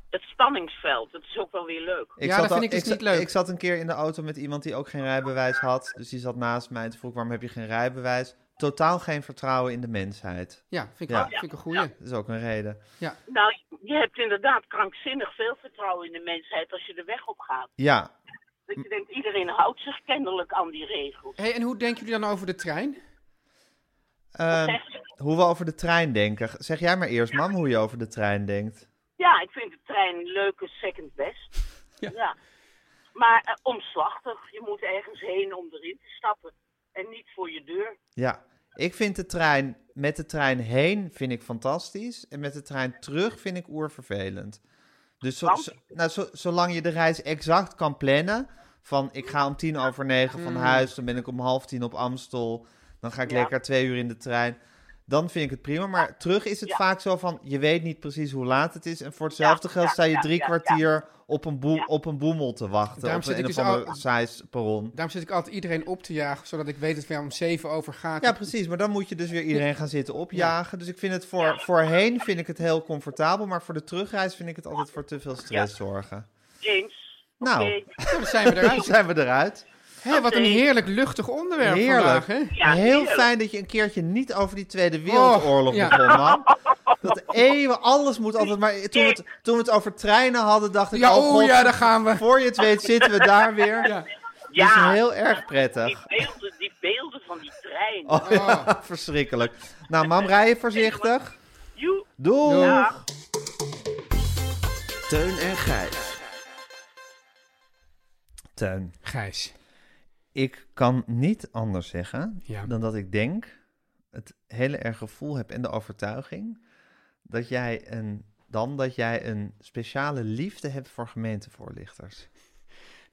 het spanningsveld. Dat is ook wel weer leuk. Ik Ja, zat dat al- vind ik dus zat- niet leuk. Ik zat een keer in de auto met iemand die ook geen rijbewijs had. Dus die zat naast mij en toen vroeg waarom heb je geen rijbewijs. Totaal geen vertrouwen in de mensheid. Ja, vind ik, Ja. vind ik een goeie. Dat is ook een reden. Nou, je hebt inderdaad krankzinnig veel vertrouwen in de mensheid als je de weg op gaat. Ja, Dat je denkt, iedereen houdt zich kennelijk aan die regels. Hey, en hoe denken jullie dan over de trein? ehm, Echt? hoe we over de trein denken. Zeg jij maar eerst, mam, hoe je over de trein denkt. Ja, ik vind de trein een leuke second best. Ja. Maar eh, omslachtig. Je moet ergens heen om erin te stappen. En niet voor je deur. Ja, ik vind de trein met de trein heen vind ik fantastisch. En met de trein terug vind ik oervervelend. Dus zo, Want? zo- nou, zo- zolang je de reis exact kan plannen. Van ik ga om tien over negen van huis, dan ben ik om half tien op Amstel. Dan ga ik Mm. Ja. lekker twee uur in de trein. Dan vind ik het prima. Maar terug is het Ja. vaak zo van je weet niet precies hoe laat het is. En voor hetzelfde Ja, geld ja, sta je ja, drie ja, ja. kwartier Op, een boe- Ja. op een boemel te wachten. Daarom op een, zit ik een of dus ander al- saais perron. Daarom zit ik altijd iedereen op te jagen, zodat ik weet dat het weer om zeven over gaat. Ja, precies. Maar dan moet je dus weer iedereen gaan zitten opjagen. Dus ik vind het voor, voorheen vind ik het heel comfortabel. Maar voor de terugreis vind ik het altijd voor te veel stress zorgen. James. Nou. oké. Dan zijn we Dan eruit. zijn we eruit. Hé, wat een heerlijk luchtig onderwerp Heerlijk. vandaag, hè? Ja, heel heerlijk. fijn dat je een keertje niet over die Tweede Wereldoorlog Oh, ja. begon, man. Dat eeuwen, alles moet altijd maar... Toen we het, toen we het over treinen hadden, dacht ik... Ja, oh, oh god, ja, daar gaan we. Voor je het weet zitten we daar weer. Ja. Dat is Ja, heel erg die prettig. beelden, die beelden van die trein. Oh, ja, verschrikkelijk. Nou, mam, rij je voorzichtig. Joe. Doei. Ja. Teun en Gijs. Teun. Gijs. Ik kan niet anders zeggen Ja. dan dat ik denk, het hele erg gevoel heb en de overtuiging dat jij een, dan dat jij een speciale liefde hebt voor gemeentevoorlichters.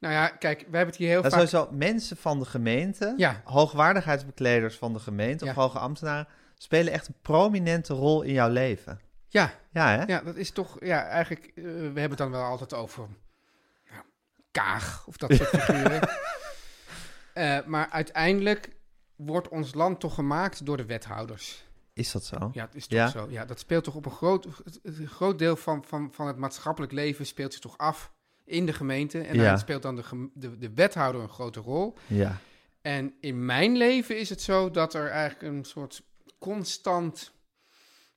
Nou ja, kijk, we hebben het hier heel Dat vaak... sowieso mensen van de gemeente, Ja. hoogwaardigheidsbekleders van de gemeente of Ja. hoge ambtenaren, spelen echt een prominente rol in jouw leven. Ja, Ja, hè? ja, dat is toch... Ja, eigenlijk, eh, we hebben het dan wel altijd over... Nou, kaag of dat soort figuren. Eh, maar uiteindelijk wordt ons land toch gemaakt door de wethouders. Is dat zo? Ja, het is toch Ja. zo. Ja, dat speelt toch op een groot, het- het- een groot deel van, van, van het maatschappelijk leven speelt zich toch af in de gemeente. En Ja. daar speelt dan de, gem- de, de wethouder een grote rol. Ja. En in mijn leven is het zo dat er eigenlijk een soort constant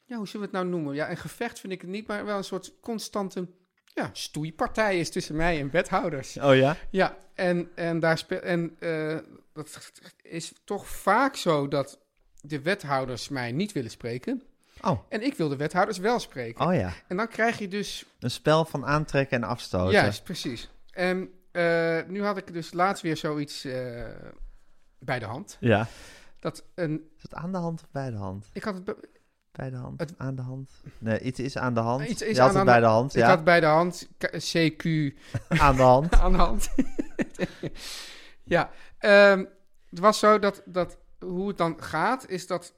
ja, hoe zullen we het nou noemen? Ja, een gevecht vind ik het niet, maar wel een soort constante ja, stoeipartij is tussen mij en wethouders. Oh ja? Ja, en, en, daar speel, en eh, dat is toch vaak zo dat de wethouders mij niet willen spreken. Oh. En ik wil de wethouders wel spreken. Oh ja. En dan krijg je dus Een spel van aantrekken en afstoten. Juist, precies. En eh, nu had ik dus laatst weer zoiets eh, bij de hand. Ja. Dat een, Is het aan de hand of bij de hand? ik had het, be- Bij de hand. Het- Aan de hand. Nee, iets is aan de hand. Iets is Je had aan het de- bij de hand. ik Ja, had bij de hand K- CQ aan de hand. aan de hand. ja, ehm, het was zo dat, dat hoe het dan gaat, is dat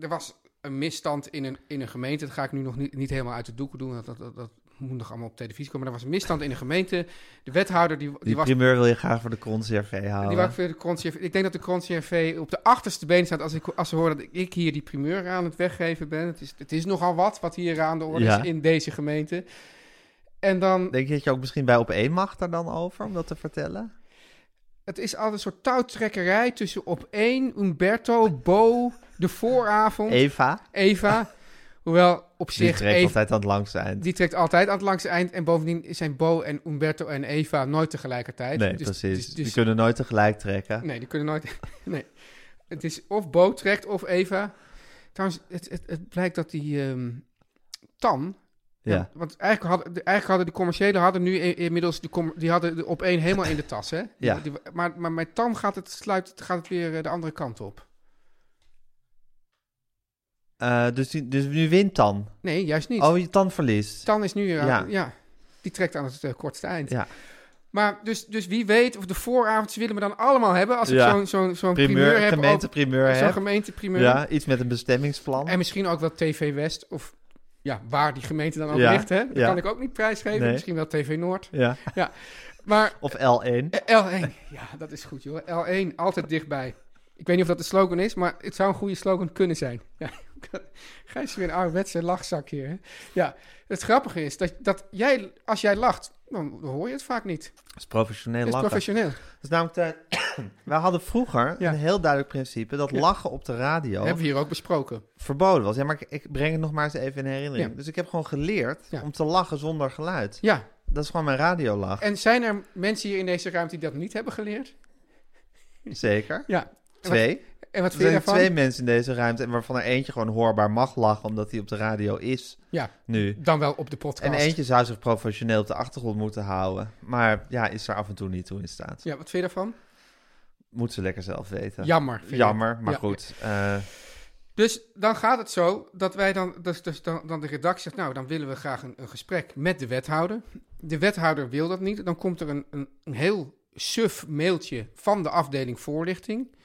er was een misstand in een, in een gemeente. Dat ga ik nu nog niet, niet helemaal uit de doeken doen, want dat, dat, dat moet nog allemaal op televisie komen. Maar er was een misstand in een gemeente. De wethouder die, die, Die was primeur wil je graag voor de CRV houden. Die wou ik voor de Kron-CRV Ik denk dat de Kron-CRV op de achterste been staat als, ik, als ze horen dat ik hier die primeur aan het weggeven ben. Het is, het is nogal wat wat hier aan de orde Ja. is in deze gemeente. En dan, Denk je dat je ook misschien bij op één mag daar dan over om dat te vertellen? het is altijd een soort touwtrekkerij tussen op één, Umberto, Bo, de vooravond, Eva, Eva. Hoewel op die zich trekt Eva, altijd aan het lang zijn. die trekt altijd aan het langste eind. En bovendien zijn Bo en Umberto en Eva nooit tegelijkertijd. Nee, Dus- precies. dus- Die dus- kunnen nooit tegelijk trekken. Nee, die kunnen nooit. nee. Het is of Bo trekt of Eva. Trouwens, het, het, het blijkt dat die ehm, Tan. ja. Want eigenlijk hadden, de- eigenlijk hadden de commerciëlen hadden nu i- inmiddels de com- die hadden de op één helemaal in de tas, hè? Die- Ja. die- maar, maar met Tan gaat het, sluit, gaat het weer eh, de andere kant op. Eh, dus, die, dus nu wint Tan. Nee, juist niet. Oh, je Tan verliest. Tan is nu weer aan- Ja. ja. Die trekt aan het eh, kortste eind. Ja. Maar dus, dus wie weet of de vooravond, ze willen me dan allemaal hebben als ik Ja. zo'n zo'n zo'n primeur, Primeur, heb. gemeente over- primeur Zo'n hè? gemeenteprimeur. Ja, iets met een bestemmingsplan. En misschien ook wel TV West of ja, waar die gemeente dan ook Ja, ligt. Hè? Dat ja. kan ik ook niet prijsgeven. Nee. Misschien wel TV Noord. Ja. Maar Of L1. eh, L1, ja, dat is goed joh. L1, altijd dichtbij. Ik weet niet of dat de slogan is, maar het zou een goede slogan kunnen zijn. Ja. Gijs is weer een ouderwetse lachzak hier. Hè? Ja, het grappige is dat, dat jij, als jij lacht, dan hoor je het vaak niet. Dat is professioneel Het is lachen. professioneel. Dat is namelijk de- Wij hadden vroeger Ja. een heel duidelijk principe dat lachen op de radio Hebben we hier ook besproken. verboden was. Ja, maar ik, ik breng het nog maar eens even in herinnering. Ja. Dus ik heb gewoon geleerd Ja. om te lachen zonder geluid. Ja, Dat is gewoon mijn radiolach. en zijn er mensen hier in deze ruimte die dat niet hebben geleerd? Zeker. Ja. Twee. En wat Er vind je zijn daarvan? twee mensen in deze ruimte, en waarvan er eentje gewoon hoorbaar mag lachen, omdat hij op de radio is Ja, nu. dan wel op de En podcast. eentje zou zich professioneel op de achtergrond moeten houden. Maar ja, is er af en toe niet toe in staat. Ja, wat vind je daarvan? Moet ze lekker zelf weten. Jammer. vind ik. Jammer, maar Ja. goed. eh, Dus dan gaat het zo dat wij dan, dus, dus dan, dan de redactie zegt, nou, dan willen we graag een, een gesprek met de wethouder. De wethouder wil dat niet. Dan komt er een, een, een heel suf mailtje van de afdeling voorlichting.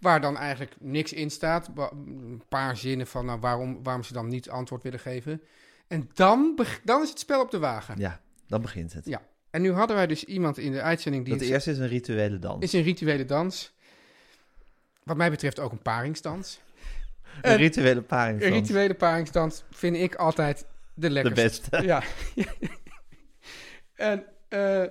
Waar dan eigenlijk niks in staat. Ba- Een paar zinnen van nou, waarom, waarom ze dan niet antwoord willen geven. En dan, beg- dan is het spel op de wagen. ja, dan begint het. Ja. En nu hadden wij dus iemand in de uitzending die Dat een- eerste is een rituele dans. is een rituele dans. Wat mij betreft ook een paringsdans. Een rituele paring. Een rituele paringsdans vind ik altijd de De lekkerste. beste. Ja. en, eh,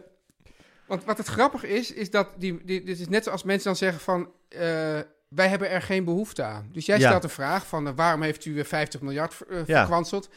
want wat het grappig is, is dat die, die, dit is net zoals mensen dan zeggen van, eh, wij hebben er geen behoefte aan. Dus jij Ja. stelt een vraag van, eh, waarom heeft u eh, 50 miljard ver- eh, Ja. verkwanseld?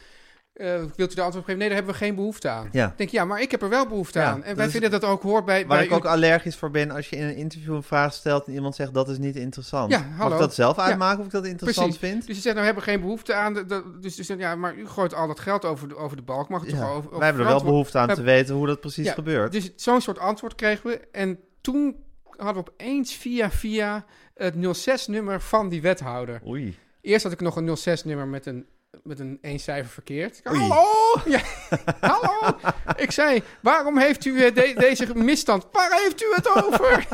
Eh, wilt u de antwoord geven? Nee, daar hebben we geen behoefte aan. Ja. Ik denk, ja, maar ik heb er wel behoefte Ja, aan. En dat wij is- vinden dat ook hoort bij... Waar bij ik uw- ook allergisch voor ben als je in een interview een vraag stelt en iemand zegt dat is niet interessant. Ja, Mag hallo. ik dat zelf Ja. uitmaken of ik dat interessant vind? Dus je zegt, nou, we hebben geen behoefte aan. de- de- dus je zegt, ja, maar u gooit al dat geld over de, over de balk. Mag het Ja. toch over, over Wij hebben er wel verantwoord- behoefte aan We te weten hoe dat precies Ja, gebeurt. Dus zo'n soort antwoord kregen we. En toen hadden we opeens via via het 06-nummer van die wethouder. Oei. Eerst had ik nog een 06-nummer met een, met een één cijfer verkeerd. Ik- Oei. Hallo! Ja, hallo! Ik zei, waarom heeft u eh, de- deze misstand? Waar heeft u het over?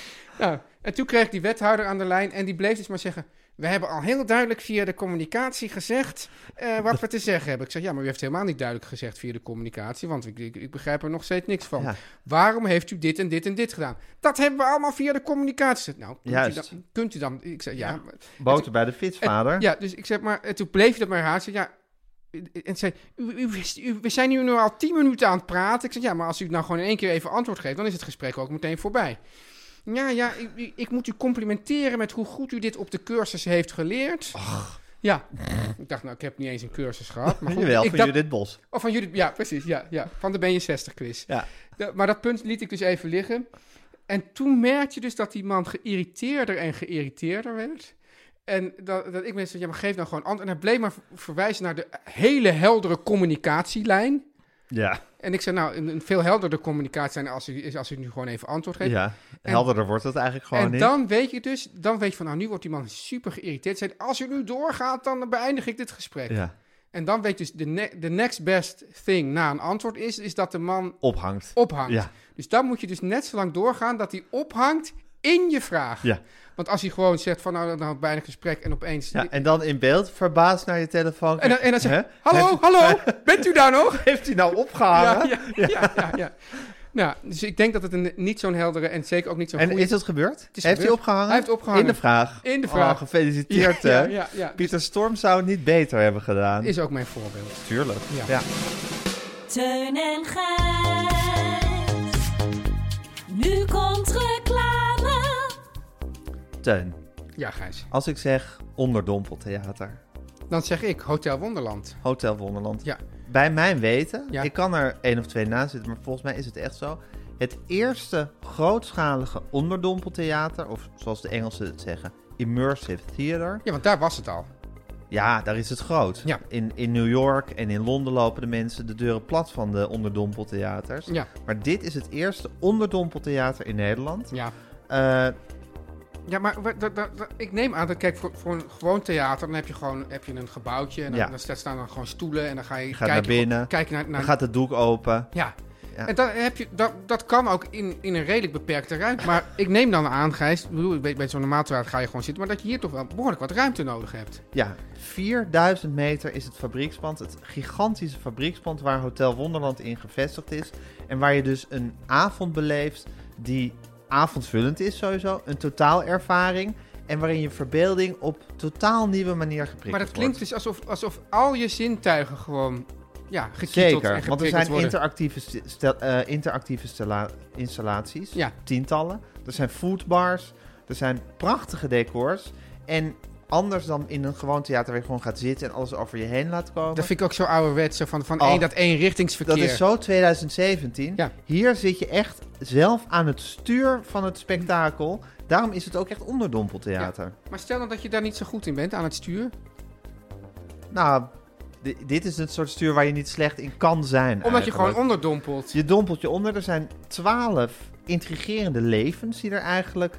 nou, en toen kreeg ik die wethouder aan de lijn en die bleef dus maar zeggen... We hebben al heel duidelijk via de communicatie gezegd eh, wat we te zeggen hebben. Ik zeg, ja, maar u heeft helemaal niet duidelijk gezegd via de communicatie, want ik, ik, ik begrijp er nog steeds niks van. Ja. Waarom heeft u dit en dit en dit gedaan? Dat hebben we allemaal via de communicatie. gezegd. Nou, kunt, Juist. U, dan, kunt u dan... Ik zeg, ja, maar- Boter bij de vis, en- vader. ja, dus ik zeg maar, en toen bleef je dat maar herhalen. Ik zeg, Ja, en zei, u, u, u- we zijn hier nu al tien minuten aan het praten. Ik zeg, ja, maar als u nou gewoon in één keer even antwoord geeft, dan is het gesprek ook meteen voorbij. Ja, ja, ik, ik- ik moet u complimenteren met hoe goed u dit op de cursus heeft geleerd. Ja, ik dacht nou, ik heb niet eens een cursus gehad. Maar goed, Jawel, ik van dacht- Judith Bos. Oh, van Judith, ja, precies. Ja, ja, van de Ben je 60 quiz. Ja. De- maar dat punt liet ik dus even liggen. En toen merkte je dus dat die man geïrriteerder en geïrriteerder werd. En dat, dat ik mensen, ja, maar geef nou gewoon antwoord. En hij bleef maar ver- verwijzen naar de hele heldere communicatielijn. Ja, En ik zei, nou, een, een veel helderder communicatielijn als u, is als u nu gewoon even antwoord geeft. ja. helderder wordt het eigenlijk gewoon en niet. dan weet je dus, dan weet je van, nou, nu wordt die man super geïrriteerd. Zei, als u nu doorgaat, dan beëindig ik dit gesprek. Ja, En dan weet je dus, de ne- de next best thing na een antwoord is, is dat de man ophangt. ophangt. Ja. Dus dan moet je dus net zo lang doorgaan dat hij ophangt in je vraag. Ja. Want als hij gewoon zegt van nou, dan houdt bijna gesprek en opeens... ja, en dan in beeld, verbaasd naar je telefoon. en, dan, en dan zegt Hè? hallo, Heeft- hallo, bent u daar nog? Heeft hij nou opgehangen? ja, ja, ja, ja, ja. Nou, dus ik denk dat het een niet zo'n heldere en zeker ook niet zo'n En goede... is dat gebeurd? is heeft gebeurd. hij opgehangen? Hij heeft opgehangen. In de vraag. In de vraag. Oh, gefeliciteerd. Ja, hè. ja, ja, ja. Pieter Storm zou het niet beter hebben gedaan. Is ook mijn voorbeeld. Tuurlijk. Ja. Ja. Teun en Gijs. Nu komt reclame. Teun, Ja, Gijs. als ik zeg onderdompeltheater, Dan zeg ik Hotel Wonderland. Hotel Wonderland. Ja. Bij mijn weten, Ja. ik kan er één of twee naast zitten, maar volgens mij is het echt zo. Het eerste grootschalige onderdompeltheater, of zoals de Engelsen het zeggen, immersive theater. Ja, want daar was het al. Ja, daar is het groot. Ja. In, in New York en in Londen lopen de mensen de deuren plat van de onderdompeltheaters. Ja. Maar dit is het eerste onderdompeltheater in Nederland. Ja. Eh, Ja, maar wa- da- da- da- ik neem aan dat, kijk, voor, voor een gewoon theater, dan heb je gewoon heb je een gebouwtje. En dan, Ja. dan staan dan gewoon stoelen en dan ga je, gaat kijken, naar binnen. kijken naar, naar dan gaat het doek open. Ja. Ja. En dan heb je, dat, dat kan ook in, in een redelijk beperkte ruimte. Maar ik neem dan aan, Gijs, ik bedoel, bij, bij zo'n normaal theater ga je gewoon zitten, maar dat je hier toch wel behoorlijk wat ruimte nodig hebt. Ja, 4000 meter is het fabriekspand. Het gigantische fabriekspand waar Hotel Wonderland in gevestigd is. En waar je dus een avond beleeft die avondvullend is sowieso. Een totaalervaring. En waarin je verbeelding op totaal nieuwe manier geprikkeld maar dat klinkt wordt. dus alsof, alsof al je zintuigen gewoon ja, gekieteld en Zeker, want er geprikkeld zijn worden. interactieve, sti- stel- eh, interactieve stela- installaties, Ja. tientallen. Er zijn foodbars, er zijn prachtige decors. En anders dan in een gewoon theater waar je gewoon gaat zitten en alles over je heen laat komen. Dat vind ik ook zo ouderwets, zo van, van Oh. één, dat één richtingsverkeer. Dat is zo 2017. Ja. Hier zit je echt zelf aan het stuur van het spektakel. Daarom is het ook echt onderdompeltheater. Maar stel dan dat je daar niet zo goed in bent aan het stuur. Nou, di- dit is het soort stuur waar je niet slecht in kan zijn. Omdat je eigenlijk. gewoon onderdompelt. Je dompelt je onder. Er zijn twaalf intrigerende levens die er eigenlijk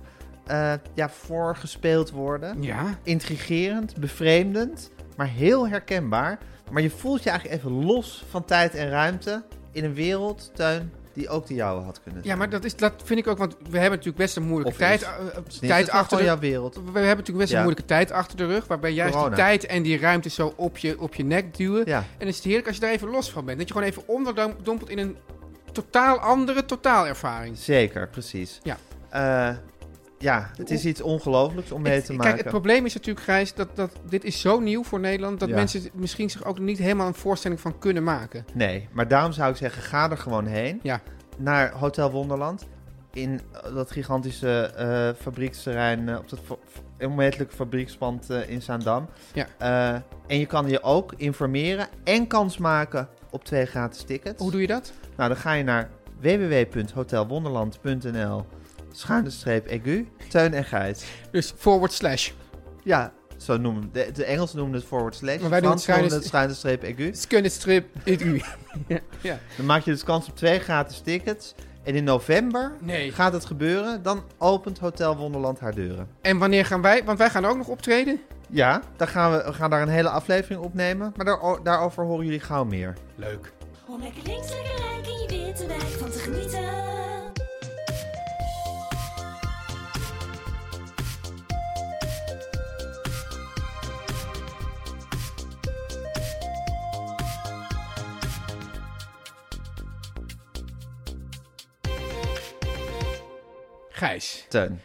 eh ja, voorgespeeld worden. Ja. Intrigerend, bevreemdend, maar heel herkenbaar. Maar je voelt je eigenlijk even los van tijd en ruimte in een wereld, tuin, die ook de jouwe had kunnen zijn. Ja, maar dat, is, dat vind ik ook, want we hebben natuurlijk best een moeilijke Of tijd, is- eh, eh, Dus dit tijd is toch achter de gewoon jouw wereld. We hebben natuurlijk best een Ja. moeilijke tijd achter de rug. Waarbij juist die Corona. tijd en die ruimte zo op je, op je nek duwen. Ja. En dan is het heerlijk als je daar even los van bent. Dat je gewoon even onderdompelt in een totaal andere totaalervaring. Zeker, precies. Ja. Eh, ja, het is iets ongelooflijks om mee Ik- te ik- maken. Kijk, het probleem is natuurlijk, Gijs, dat, dat dit is zo nieuw voor Nederland... dat Ja. mensen het misschien zich ook niet helemaal een voorstelling van kunnen maken. Nee, maar daarom zou ik zeggen, ga er gewoon heen. Ja. Naar Hotel Wonderland. In eh, dat gigantische eh, fabrieksterrein, eh, op dat fa- fa- onmetelijke fabriekspand eh, in Zaandam. Ja. Eh, en je kan je ook informeren en kans maken op twee gratis tickets. Hoe doe je dat? Nou, dan ga je naar www.hotelwonderland.nl schuine streep egu, Teun en Gijs. Dus forward slash. Ja, zo noemen de, de Engelsen noemen het forward slash. Maar wij doen Frans het noemen het schuine streep E egu. Skunnestrip, it u. ja. ja. Dan maak je dus kans op twee gratis tickets. En in november Nee. gaat het gebeuren. Dan opent Hotel Wonderland haar deuren. En wanneer gaan wij... Want wij gaan er ook nog optreden. Ja, dan gaan we, we gaan daar een hele aflevering opnemen. Maar daar, daarover horen jullie gauw meer. Leuk. Om lekker links, lekker rijk in je witte wijk van te genieten. Gijs. Teun.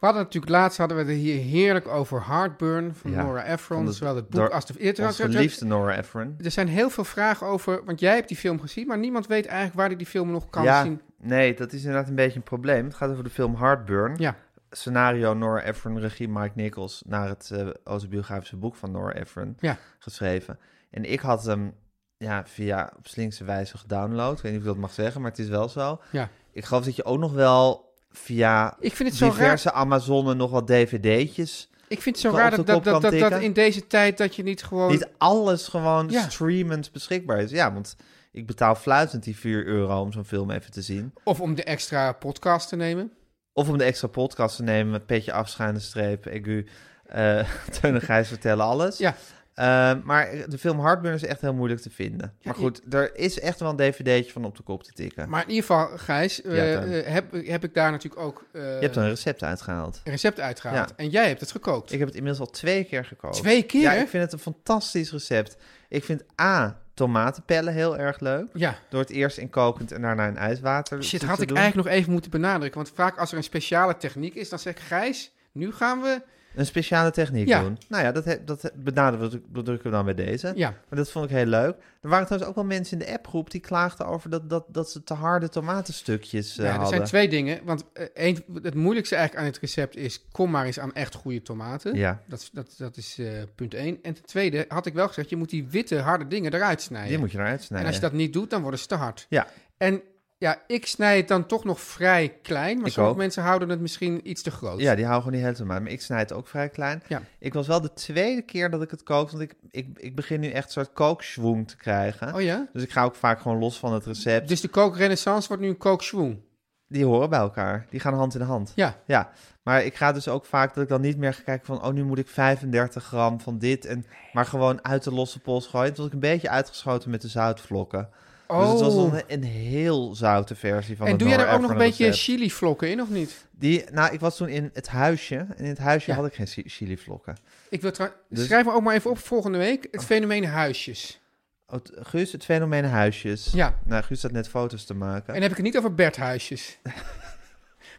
We hadden natuurlijk laatst hadden we het hier heerlijk over Heartburn van Ja, Nora Ephron, van het- zowel het boek door- als de eerder. Onze geliefde Nora Ephron. Er zijn heel veel vragen over, want jij hebt die film gezien, maar niemand weet eigenlijk waar hij die film nog kan ja, zien. nee, dat is inderdaad een beetje een probleem. Het gaat over de film Heartburn. Ja. scenario Nora Ephron, regie Mike Nichols, naar het eh autobiografische boek van Nora Ephron Ja. geschreven. En ik had hem ja, via op slinkse wijze gedownload. Ik weet niet of ik dat mag zeggen, maar het is wel zo. Ja. Ik geloof dat je ook nog wel via Ik vind het zo raar. diverse Amazonen nog wat dvd'tjes... Ik vind het zo Op raar de dat, dat, kop dat, kan dat, dat tikken. in deze tijd dat je niet gewoon... Niet alles gewoon Oh. Ja. streamend beschikbaar is. Ja, want ik betaal fluitend die 4 euro om zo'n film even te zien. Of om de extra podcast te nemen. Of om de extra podcast te nemen met petje afschuine streep, egu, eh Teun en Gijs vertellen alles. Ja. Eh, maar de film Hardburn is echt heel moeilijk te vinden. Maar goed, er is echt wel een dvd'tje van op de kop te tikken. Maar in ieder geval, Gijs, eh, Ja, Teun. eh, heb, heb ik daar natuurlijk ook eh, Je hebt er een recept uitgehaald. een recept uitgehaald. Ja. En jij hebt het gekookt. Ik heb het inmiddels al twee keer gekookt. Twee keer? Ja, ik vind het een fantastisch recept. Ik vind A, tomatenpellen heel erg leuk. Ja. Door het eerst in kokend en daarna in ijswater Shit, te had ik doen. eigenlijk nog even moeten benadrukken. Want vaak als er een speciale techniek is, dan zeg ik... Gijs, nu gaan we... Een speciale techniek Ja. doen. Nou ja, dat, he- dat he- benaderen we, bedrukken we dan bij deze. Ja, Maar dat vond ik heel leuk. Er waren trouwens ook wel mensen in de appgroep die klaagden over dat, dat, dat ze te harde tomatenstukjes eh, ja, er hadden. zijn twee dingen. Want eh, één, het moeilijkste eigenlijk aan het recept is... kom maar eens aan echt goede tomaten. Ja, Dat, is- dat, dat is eh, punt één. En ten tweede had ik wel gezegd... je moet die witte, harde dingen eruit snijden. die moet je eruit en snijden. als je dat niet doet, dan worden ze te hard. Ja. En ja, ik snij het dan toch nog vrij klein. Maar Ik sommige ook. mensen houden het misschien iets te groot. Ja, die houden gewoon niet helemaal. Maar ik snijd ook vrij klein. Ja. Ik was wel de tweede keer dat ik het kook. Want ik, ik, ik begin nu echt een soort kookschwoeng te krijgen. Oh ja? Dus ik ga ook vaak gewoon los van het recept. Dus de kookrenaissance wordt nu een kookschwoen. Die horen bij elkaar. Die gaan hand in hand. Ja. Ja, maar ik ga dus ook vaak dat ik dan niet meer ga kijken van... oh, nu moet ik 35 gram van dit. En, maar gewoon uit de losse pols gooien. Toen was ik een beetje uitgeschoten met de zoutvlokken. Oh. Dus het was dan een, een heel zoute versie van en het doe jij Nora er ook nog een Ephron beetje recept. chili vlokken in, of niet? Die, nou, ik was toen in het huisje. En in het huisje Ja. had ik geen chi- chilivlokken. Ik wil trouw- Dus- Schrijf me ook maar even op volgende week. Het fenomeen huisjes. Oh, t- Guus, het fenomeen huisjes. Ja. Nou, Guus staat net foto's te maken. En dan heb ik het niet over Berthuisjes.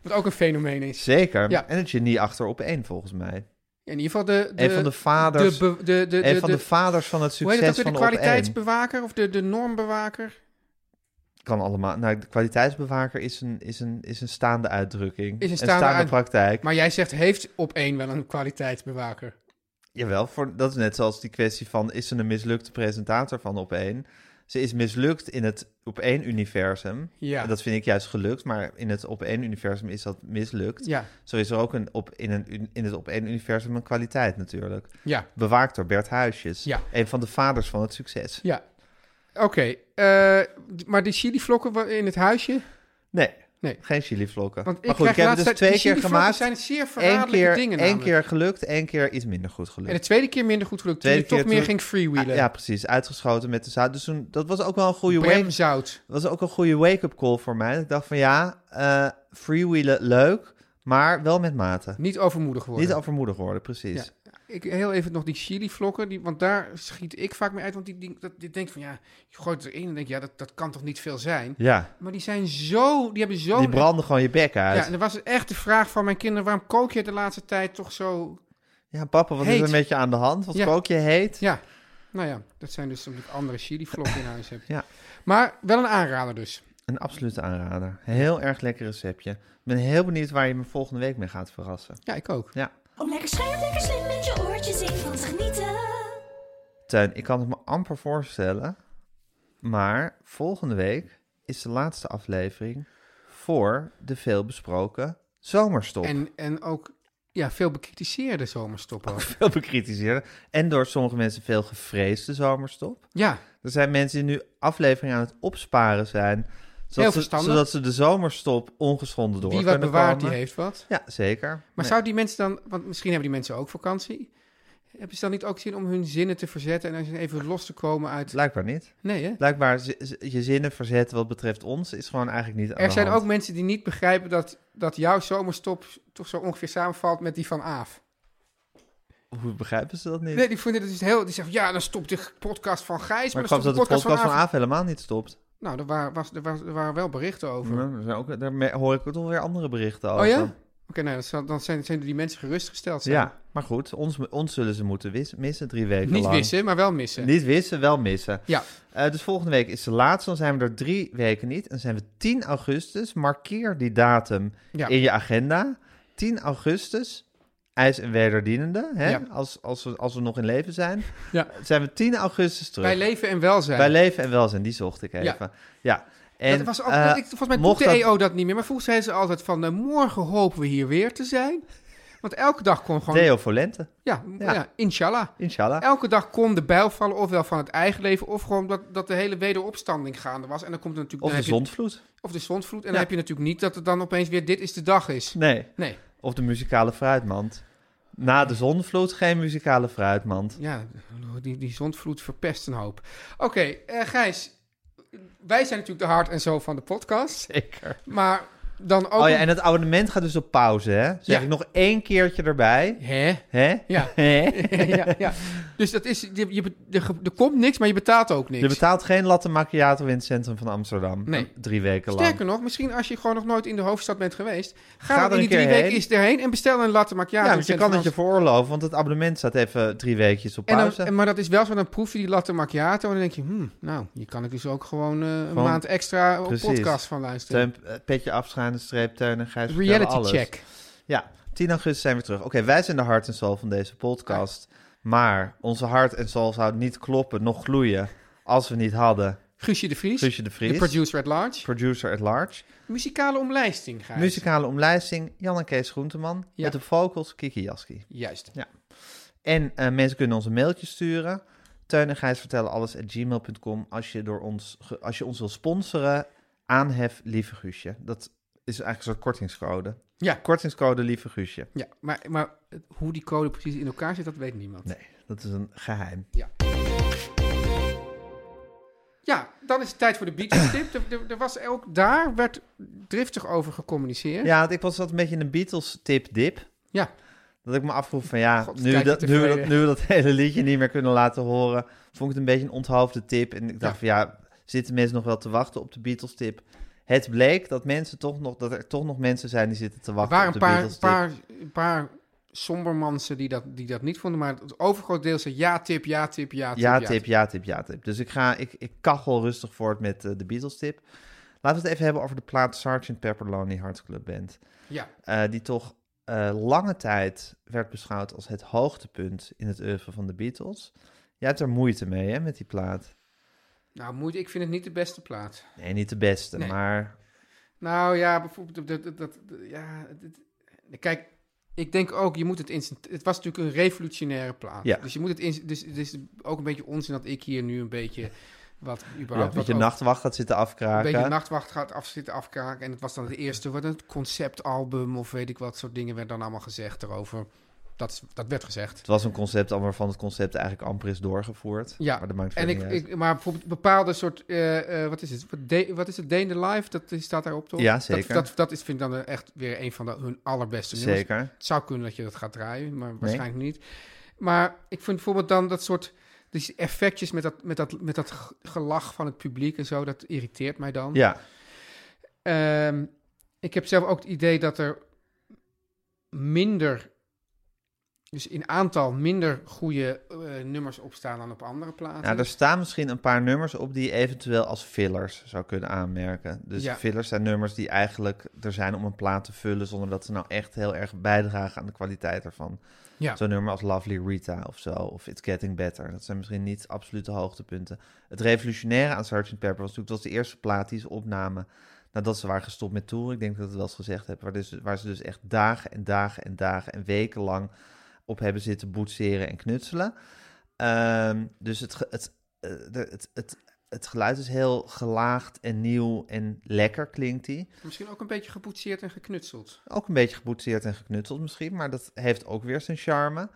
Wat ook een fenomeen is. Zeker. Ja. En het genie achter op één, volgens mij. In ieder geval de... de een van de vaders... De, be- de, de, een de- van de, de- vaders van het hoe heet het ook succes weer? van De de Opeen. kwaliteitsbewaker of de, de normbewaker? Kan allemaal. Nou, de kwaliteitsbewaker is een, is een, is een staande uitdrukking. Is een staande uit- praktijk. Maar jij zegt, heeft op één wel een kwaliteitsbewaker? Jawel, voor, dat is net zoals die kwestie van... is ze een mislukte presentator van Opeen? Ze is mislukt in het Opeen-universum. Ja. En dat vind ik juist gelukt, maar in het Opeen-universum is dat mislukt. Ja, Zo is er ook een op, in, een, un- in het Opeen-universum een kwaliteit natuurlijk. ja, Bewaakt door Bert Huisjes. Ja. Een van de vaders van het succes. ja. Oké, eh, d- maar die chilivlokken wa- in het huisje? Nee, Nee. geen chilivlokken. Want ik, maar goed, ik krijg heb laatst het dus twee keer gemaakt. zijn zeer Eén verraderlijke keer, dingen één namelijk. keer gelukt, één keer iets minder goed gelukt. En de tweede keer minder goed gelukt. Toen je Tweede toch keer meer toen- ging freewheelen. Ah, Ja, precies. Uitgeschoten met de zout. Dus toen, dat was ook wel een goede wake, Bremzout. was ook een goede wake-up call voor mij. Ik dacht van ja, eh, freewheelen leuk, maar wel met mate. Niet overmoedig worden. Niet overmoedig worden, precies. Ik, heel even nog die chilivlokken, die, want daar schiet ik vaak mee uit. Want die, die, dat, die denkt van ja, je gooit het erin en denk ja, dat, dat kan toch niet veel zijn. Ja. Maar die zijn zo, die hebben zo... Die branden gewoon je bek uit. Ja, Ja, en er was echt de vraag van mijn kinderen, waarom kook je de laatste tijd toch zo... papa, wat Heet. is er met je aan de hand? Wat Ja. kook je heet? Ja, nou ja, dat zijn dus omdat ik andere chilivlokken in huis heb. Ja. Maar wel een aanrader dus. Een absolute aanrader. Heel erg lekker receptje. Ik ben heel benieuwd waar je me volgende week mee gaat verrassen. Ja, ik ook. Ja. Om lekker scherp, lekker slim met je oortjes in van te genieten. Tuin, ik kan het me amper voorstellen. Maar volgende week is de laatste aflevering voor de veelbesproken zomerstop. En, en ook ja, veel bekritiseerde zomerstop ook. Veel bekritiseerd. En door sommige mensen veel gevreesde zomerstop. Ja, Er zijn mensen die nu afleveringen aan het opsparen zijn. Heel Zodat, ze, verstandig. zodat ze de zomerstop ongeschonden door die wat kunnen bewaart, die komen. heeft wat. Ja, zeker. Maar Nee. zou die mensen dan, want misschien hebben die mensen ook vakantie. Hebben ze dan niet ook zin om hun zinnen te verzetten en dan even los te komen uit... Blijkbaar niet. Nee, hè? Blijkbaar z- z- je zinnen verzetten wat betreft ons is gewoon eigenlijk niet aan Er de zijn hand. ook mensen die niet begrijpen dat, dat jouw zomerstop toch zo ongeveer samenvalt met die van Aaf. Hoe begrijpen ze dat niet? Nee, die vinden het dus heel... Die zeggen, ja, dan stopt de podcast van Gijs, maar maar, ik geloof dan stopt de dat de podcast, podcast van van Aaf. Aaf helemaal niet stopt. Nou, er, wa- was, er, was, er waren wel berichten over. Ja, er zijn ook, daar me- hoor ik toch weer andere berichten over. eh, Oh ja? Oké, nou, dat zal- dan zijn, zijn die mensen gerustgesteld. Zijn. Ja, maar goed, ons, ons zullen ze moeten wis- missen drie weken Niet lang. wissen, maar wel missen. Niet wissen, wel missen. Ja. Eh, dus volgende week is de laatste, dan zijn we er drie weken niet. En dan zijn we 10 augustus. Markeer die datum Ja. in je agenda. 10 augustus, IJs en Wederdienende, hè? Ja. Als, als, we, als we nog in leven zijn, Ja. zijn we 10 augustus terug. Bij leven en welzijn. Bij leven en welzijn, die zocht ik even. Ja. En, dat was ook, eh, ik, volgens mij E doet mocht de dat- EO dat... niet meer. Maar vroeger zei ze altijd van, eh, morgen hopen we hier weer te zijn. Want elke dag kon gewoon, Theo Volente, ja, Ja. ja. inshallah. inshallah. Elke dag kon de bijl vallen, ofwel van het eigen leven, of gewoon dat, dat de hele wederopstanding gaande was. En dan komt er Of natuurlijk... dan de heb je- zondvloed. Of de zondvloed. En Ja. dan heb je natuurlijk niet dat het dan opeens weer dit is de dag is. Nee. Nee. Of de muzikale fruitmand. Na de zondvloed geen muzikale fruitmand. Ja, die, die zondvloed verpest een hoop. Oké, eh, Gijs. Wij zijn natuurlijk de hart en zo van de podcast. Zeker. Maar dan ook... Oh ja, en het abonnement gaat dus op pauze, hè? Zeg Ja. ik nog één keertje erbij. Hè? Hè? Ja. Hè? ja, ja. Dus dat is, je, je, be- er, ge- er komt niks, maar je betaalt ook niks. Je betaalt geen latte macchiato in het centrum van Amsterdam. Nee. Drie weken lang. Sterker nog, misschien als je gewoon nog nooit in de hoofdstad bent geweest, ga, Ga er dan in die een keer drie weken heen. eens erheen en bestel een latte macchiato. ja, want je in kan het Frans. je veroorloven, want het abonnement staat even drie weekjes op en dan- pauze. en- maar dat is wel zo, dan proef je die latte macchiato en dan denk je, hmm, nou, je kan ik dus ook gewoon eh, een Gewoon- maand extra op precies. podcast van luisteren. Teun, eh, petje afschuine streep, Teun en Gijs vertellen Reality alles. check. Ja, 10 augustus zijn we terug. Oké, wij zijn de hart en ziel van deze podcast. Maar onze hart en ziel zou niet kloppen, nog gloeien, als we niet hadden Guusje de Vries, Guusje de Vries. de producer at large. producer at large. Muzikale omlijsting, Gijs. Muzikale omlijsting, Jan en Kees Groenteman. Ja. Met de vocals, Kiki Jaski. Juist. En eh, mensen kunnen ons een mailtje sturen. Teun en Gijs vertellen alles at gmail.com. Als je, door ons, ge- als je ons wil sponsoren, aanhef lieve Guusje. Dat is eigenlijk een soort kortingscode. Ja. Kortingscode lieve Guusje. Ja, maar, maar hoe die code precies in elkaar zit, dat weet niemand. Nee, dat is een geheim. Ja, dan is het tijd voor de Beatles tip. Er, er- er was ook daar werd driftig over gecommuniceerd. Ja, want ik was altijd een beetje in een Beatles tip dip. Ja. Dat ik me afvroeg van ja, God, nu, kijk je dat, nu, we dat, tevreden. nu we dat hele liedje niet meer kunnen laten horen, vond ik het een beetje een onthoofde tip. En ik dacht Ja. van ja, zitten mensen nog wel te wachten op de Beatles tip? Het bleek dat, mensen toch nog, dat er toch nog mensen zijn die zitten te er wachten op waren de een paar, Beatles tip. paar, een paar sombermansen die dat, die dat niet vonden. Maar het overgrote deel zei ja tip, ja tip, ja tip. ja, tip, ja, tip, ja, tip. Dus ik, ga, ik, ik kachel rustig voort met eh, de Beatles tip. Laten we het even hebben over de plaat Sgt. Pepper Lonely Hearts Club Band. Ja, eh, die toch eh, lange tijd werd beschouwd als het hoogtepunt in het oeuvre van de Beatles. Jij hebt er moeite mee, hè, met die plaat. nou moeite, ik vind het niet de beste plaat. Nee, niet de beste, Nee. maar... Nou ja, bijvoorbeeld, dat, dat, dat- dat- ja, dit- kijk, ik denk ook, je moet het instant, het was natuurlijk een revolutionaire plaat. Ja. Dus je moet het, in, dus het is ook een beetje onzin dat ik hier nu een beetje wat Ja, überhaupt dat wat je over- nachtwacht gaat zitten een afkraken. beetje nachtwacht gaat afzitten afkraken. En het was dan het eerste, wat het conceptalbum of weet ik wat, soort dingen werden dan allemaal gezegd erover. Dat, is- dat werd gezegd. Het was een concept, al waarvan het concept eigenlijk amper is doorgevoerd. Ja, maar dat maakt En verder ik, niet uit. ik, maar bijvoorbeeld bepaalde soort, eh, eh, wat is het? Wat, de, wat is het? Day in the Life, dat is- staat daarop toch? Ja, Dat- zeker. Dat, dat, is, vind ik dan echt weer een van de, hun allerbeste nummers. Zeker. Het zou kunnen dat je dat gaat draaien, maar waarschijnlijk niet. Maar ik vind bijvoorbeeld dan dat soort die effectjes met dat, met, dat, met dat g- gelach van het publiek en zo, dat irriteert mij dan. Ja, Ehm, ik heb zelf ook het idee dat er minder, dus in aantal minder goede eh, nummers op staan dan op andere platen. ja, er staan misschien een paar nummers op die je eventueel als fillers zou kunnen aanmerken. Dus Ja. fillers zijn nummers die eigenlijk er zijn om een plaat te vullen... zonder dat ze nou echt heel erg bijdragen aan de kwaliteit ervan. ja. Zo'n nummer als Lovely Rita of zo, of It's Getting Better. Dat zijn misschien niet absolute hoogtepunten. Het revolutionaire aan Sgt. Pepper was natuurlijk dat was de eerste plaat die ze opnamen nadat ze waren gestopt met toeren. Ik denk dat ik het wel eens gezegd heb. Waar, dus, waar ze dus echt dagen en dagen en dagen en weken lang op hebben zitten boetseren en knutselen. Ehm, dus het, ge- het, eh, de- het, het, het geluid is heel gelaagd en nieuw en lekker klinkt die. Misschien ook een beetje gepoetseerd en geknutseld. Ook een beetje geboetseerd en geknutseld misschien, maar dat heeft ook weer zijn charme.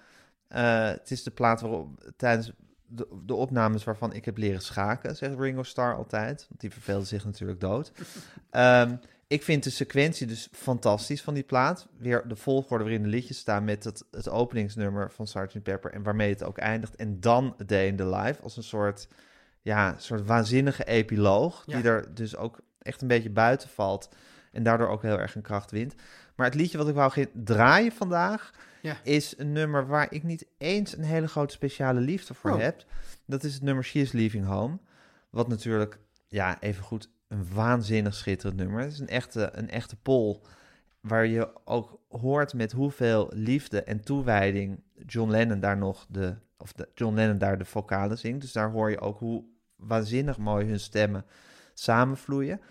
Eh, het is de plaat waarop tijdens de, de opnames waarvan ik heb leren schaken, zegt Ringo Starr altijd. Want die verveelde zich natuurlijk dood. Ehm, ik vind de sequentie dus fantastisch van die plaat. Weer de volgorde waarin de liedjes staan met het, het openingsnummer van Sgt. Pepper en waarmee het ook eindigt. En dan A Day in the Life als een soort, ja, soort waanzinnige epiloog. Ja. Die er dus ook echt een beetje buiten valt en daardoor ook heel erg een kracht wint. Maar het liedje wat ik wou ge- draaien vandaag Ja. is een nummer waar ik niet eens een hele grote speciale liefde voor Oh. heb. Dat is het nummer She is Leaving Home. Wat natuurlijk, ja, even goed, een waanzinnig schitterend nummer. Het is een echte, een echte pol. Waar je ook hoort met hoeveel liefde en toewijding John Lennon daar nog de, of de, John Lennon daar de vocalen zingt. Dus daar hoor je ook hoe waanzinnig mooi hun stemmen samenvloeien.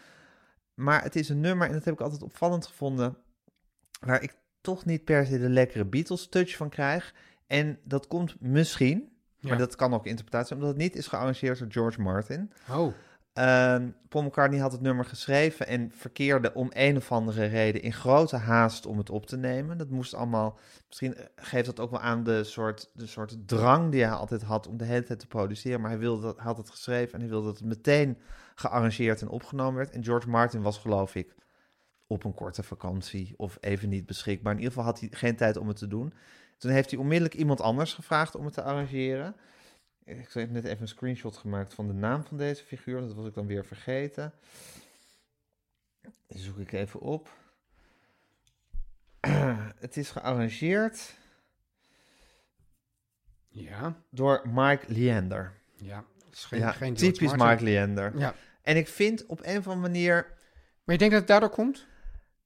Maar het is een nummer, en dat heb ik altijd opvallend gevonden, waar ik toch niet per se de lekkere Beatles-touch van krijg. En dat komt misschien, Ja. maar dat kan ook interpretatie, omdat het niet is gearrangeerd door George Martin. Oh, Ehm, Paul McCartney had het nummer geschreven en verkeerde om een of andere reden in grote haast om het op te nemen. Dat moest allemaal, misschien eh, geeft dat ook wel aan de soort, de soort drang die hij altijd had om de hele tijd te produceren. Maar hij wilde dat, had het geschreven en hij wilde dat het meteen gearrangeerd en opgenomen werd. En George Martin was geloof ik op een korte vakantie of even niet beschikbaar. In ieder geval had hij geen tijd om het te doen. Toen heeft hij onmiddellijk iemand anders gevraagd om het te arrangeren. Ik heb net even een screenshot gemaakt van de naam van deze figuur. Dat was ik dan weer vergeten. Die zoek ik even op. Het is gearrangeerd ja. door Mike Leander. Ja, dat is geen, ja, geen George typisch Mike Martin. Leander. Ja. En ik vind op een of andere manier... Maar je denkt dat het daardoor komt?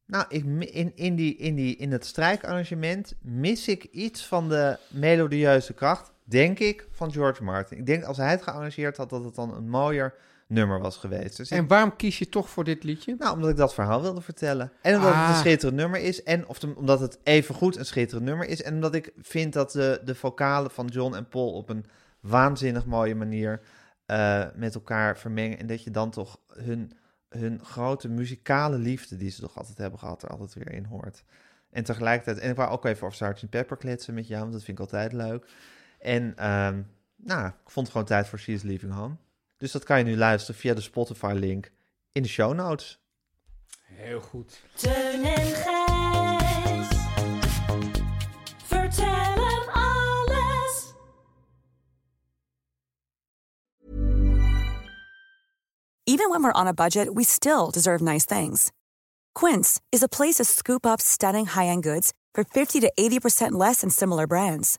Nou, ik, mi- in, in, die, in, die, in het strijkarrangement mis ik iets van de melodieuze kracht, denk ik, van George Martin. Ik denk als hij het gearrangeerd had, dat het dan een mooier nummer was geweest. Dus ik En waarom kies je toch voor dit liedje? Nou, omdat ik dat verhaal wilde vertellen. En omdat het Ah. een schitterend nummer is. En of de- omdat het evengoed een schitterend nummer is. En omdat ik vind dat de, de vocalen van John en Paul op een waanzinnig mooie manier eh, met elkaar vermengen. En dat je dan toch hun, hun grote muzikale liefde die ze toch altijd hebben gehad, er altijd weer in hoort. En tegelijkertijd, en ik wou ook even over Sgt. Pepper kletsen met jou, want dat vind ik altijd leuk. En ehm, nou, ik vond gewoon tijd voor She's Leaving Home. Dus dat kan je nu luisteren via de Spotify-link in de show notes. Heel goed. Teun en Gijs. Vertel hem alles. Even when we're on a budget, we still deserve nice things. Quince is a place to scoop up stunning high-end goods for 50 to 80% less than similar brands.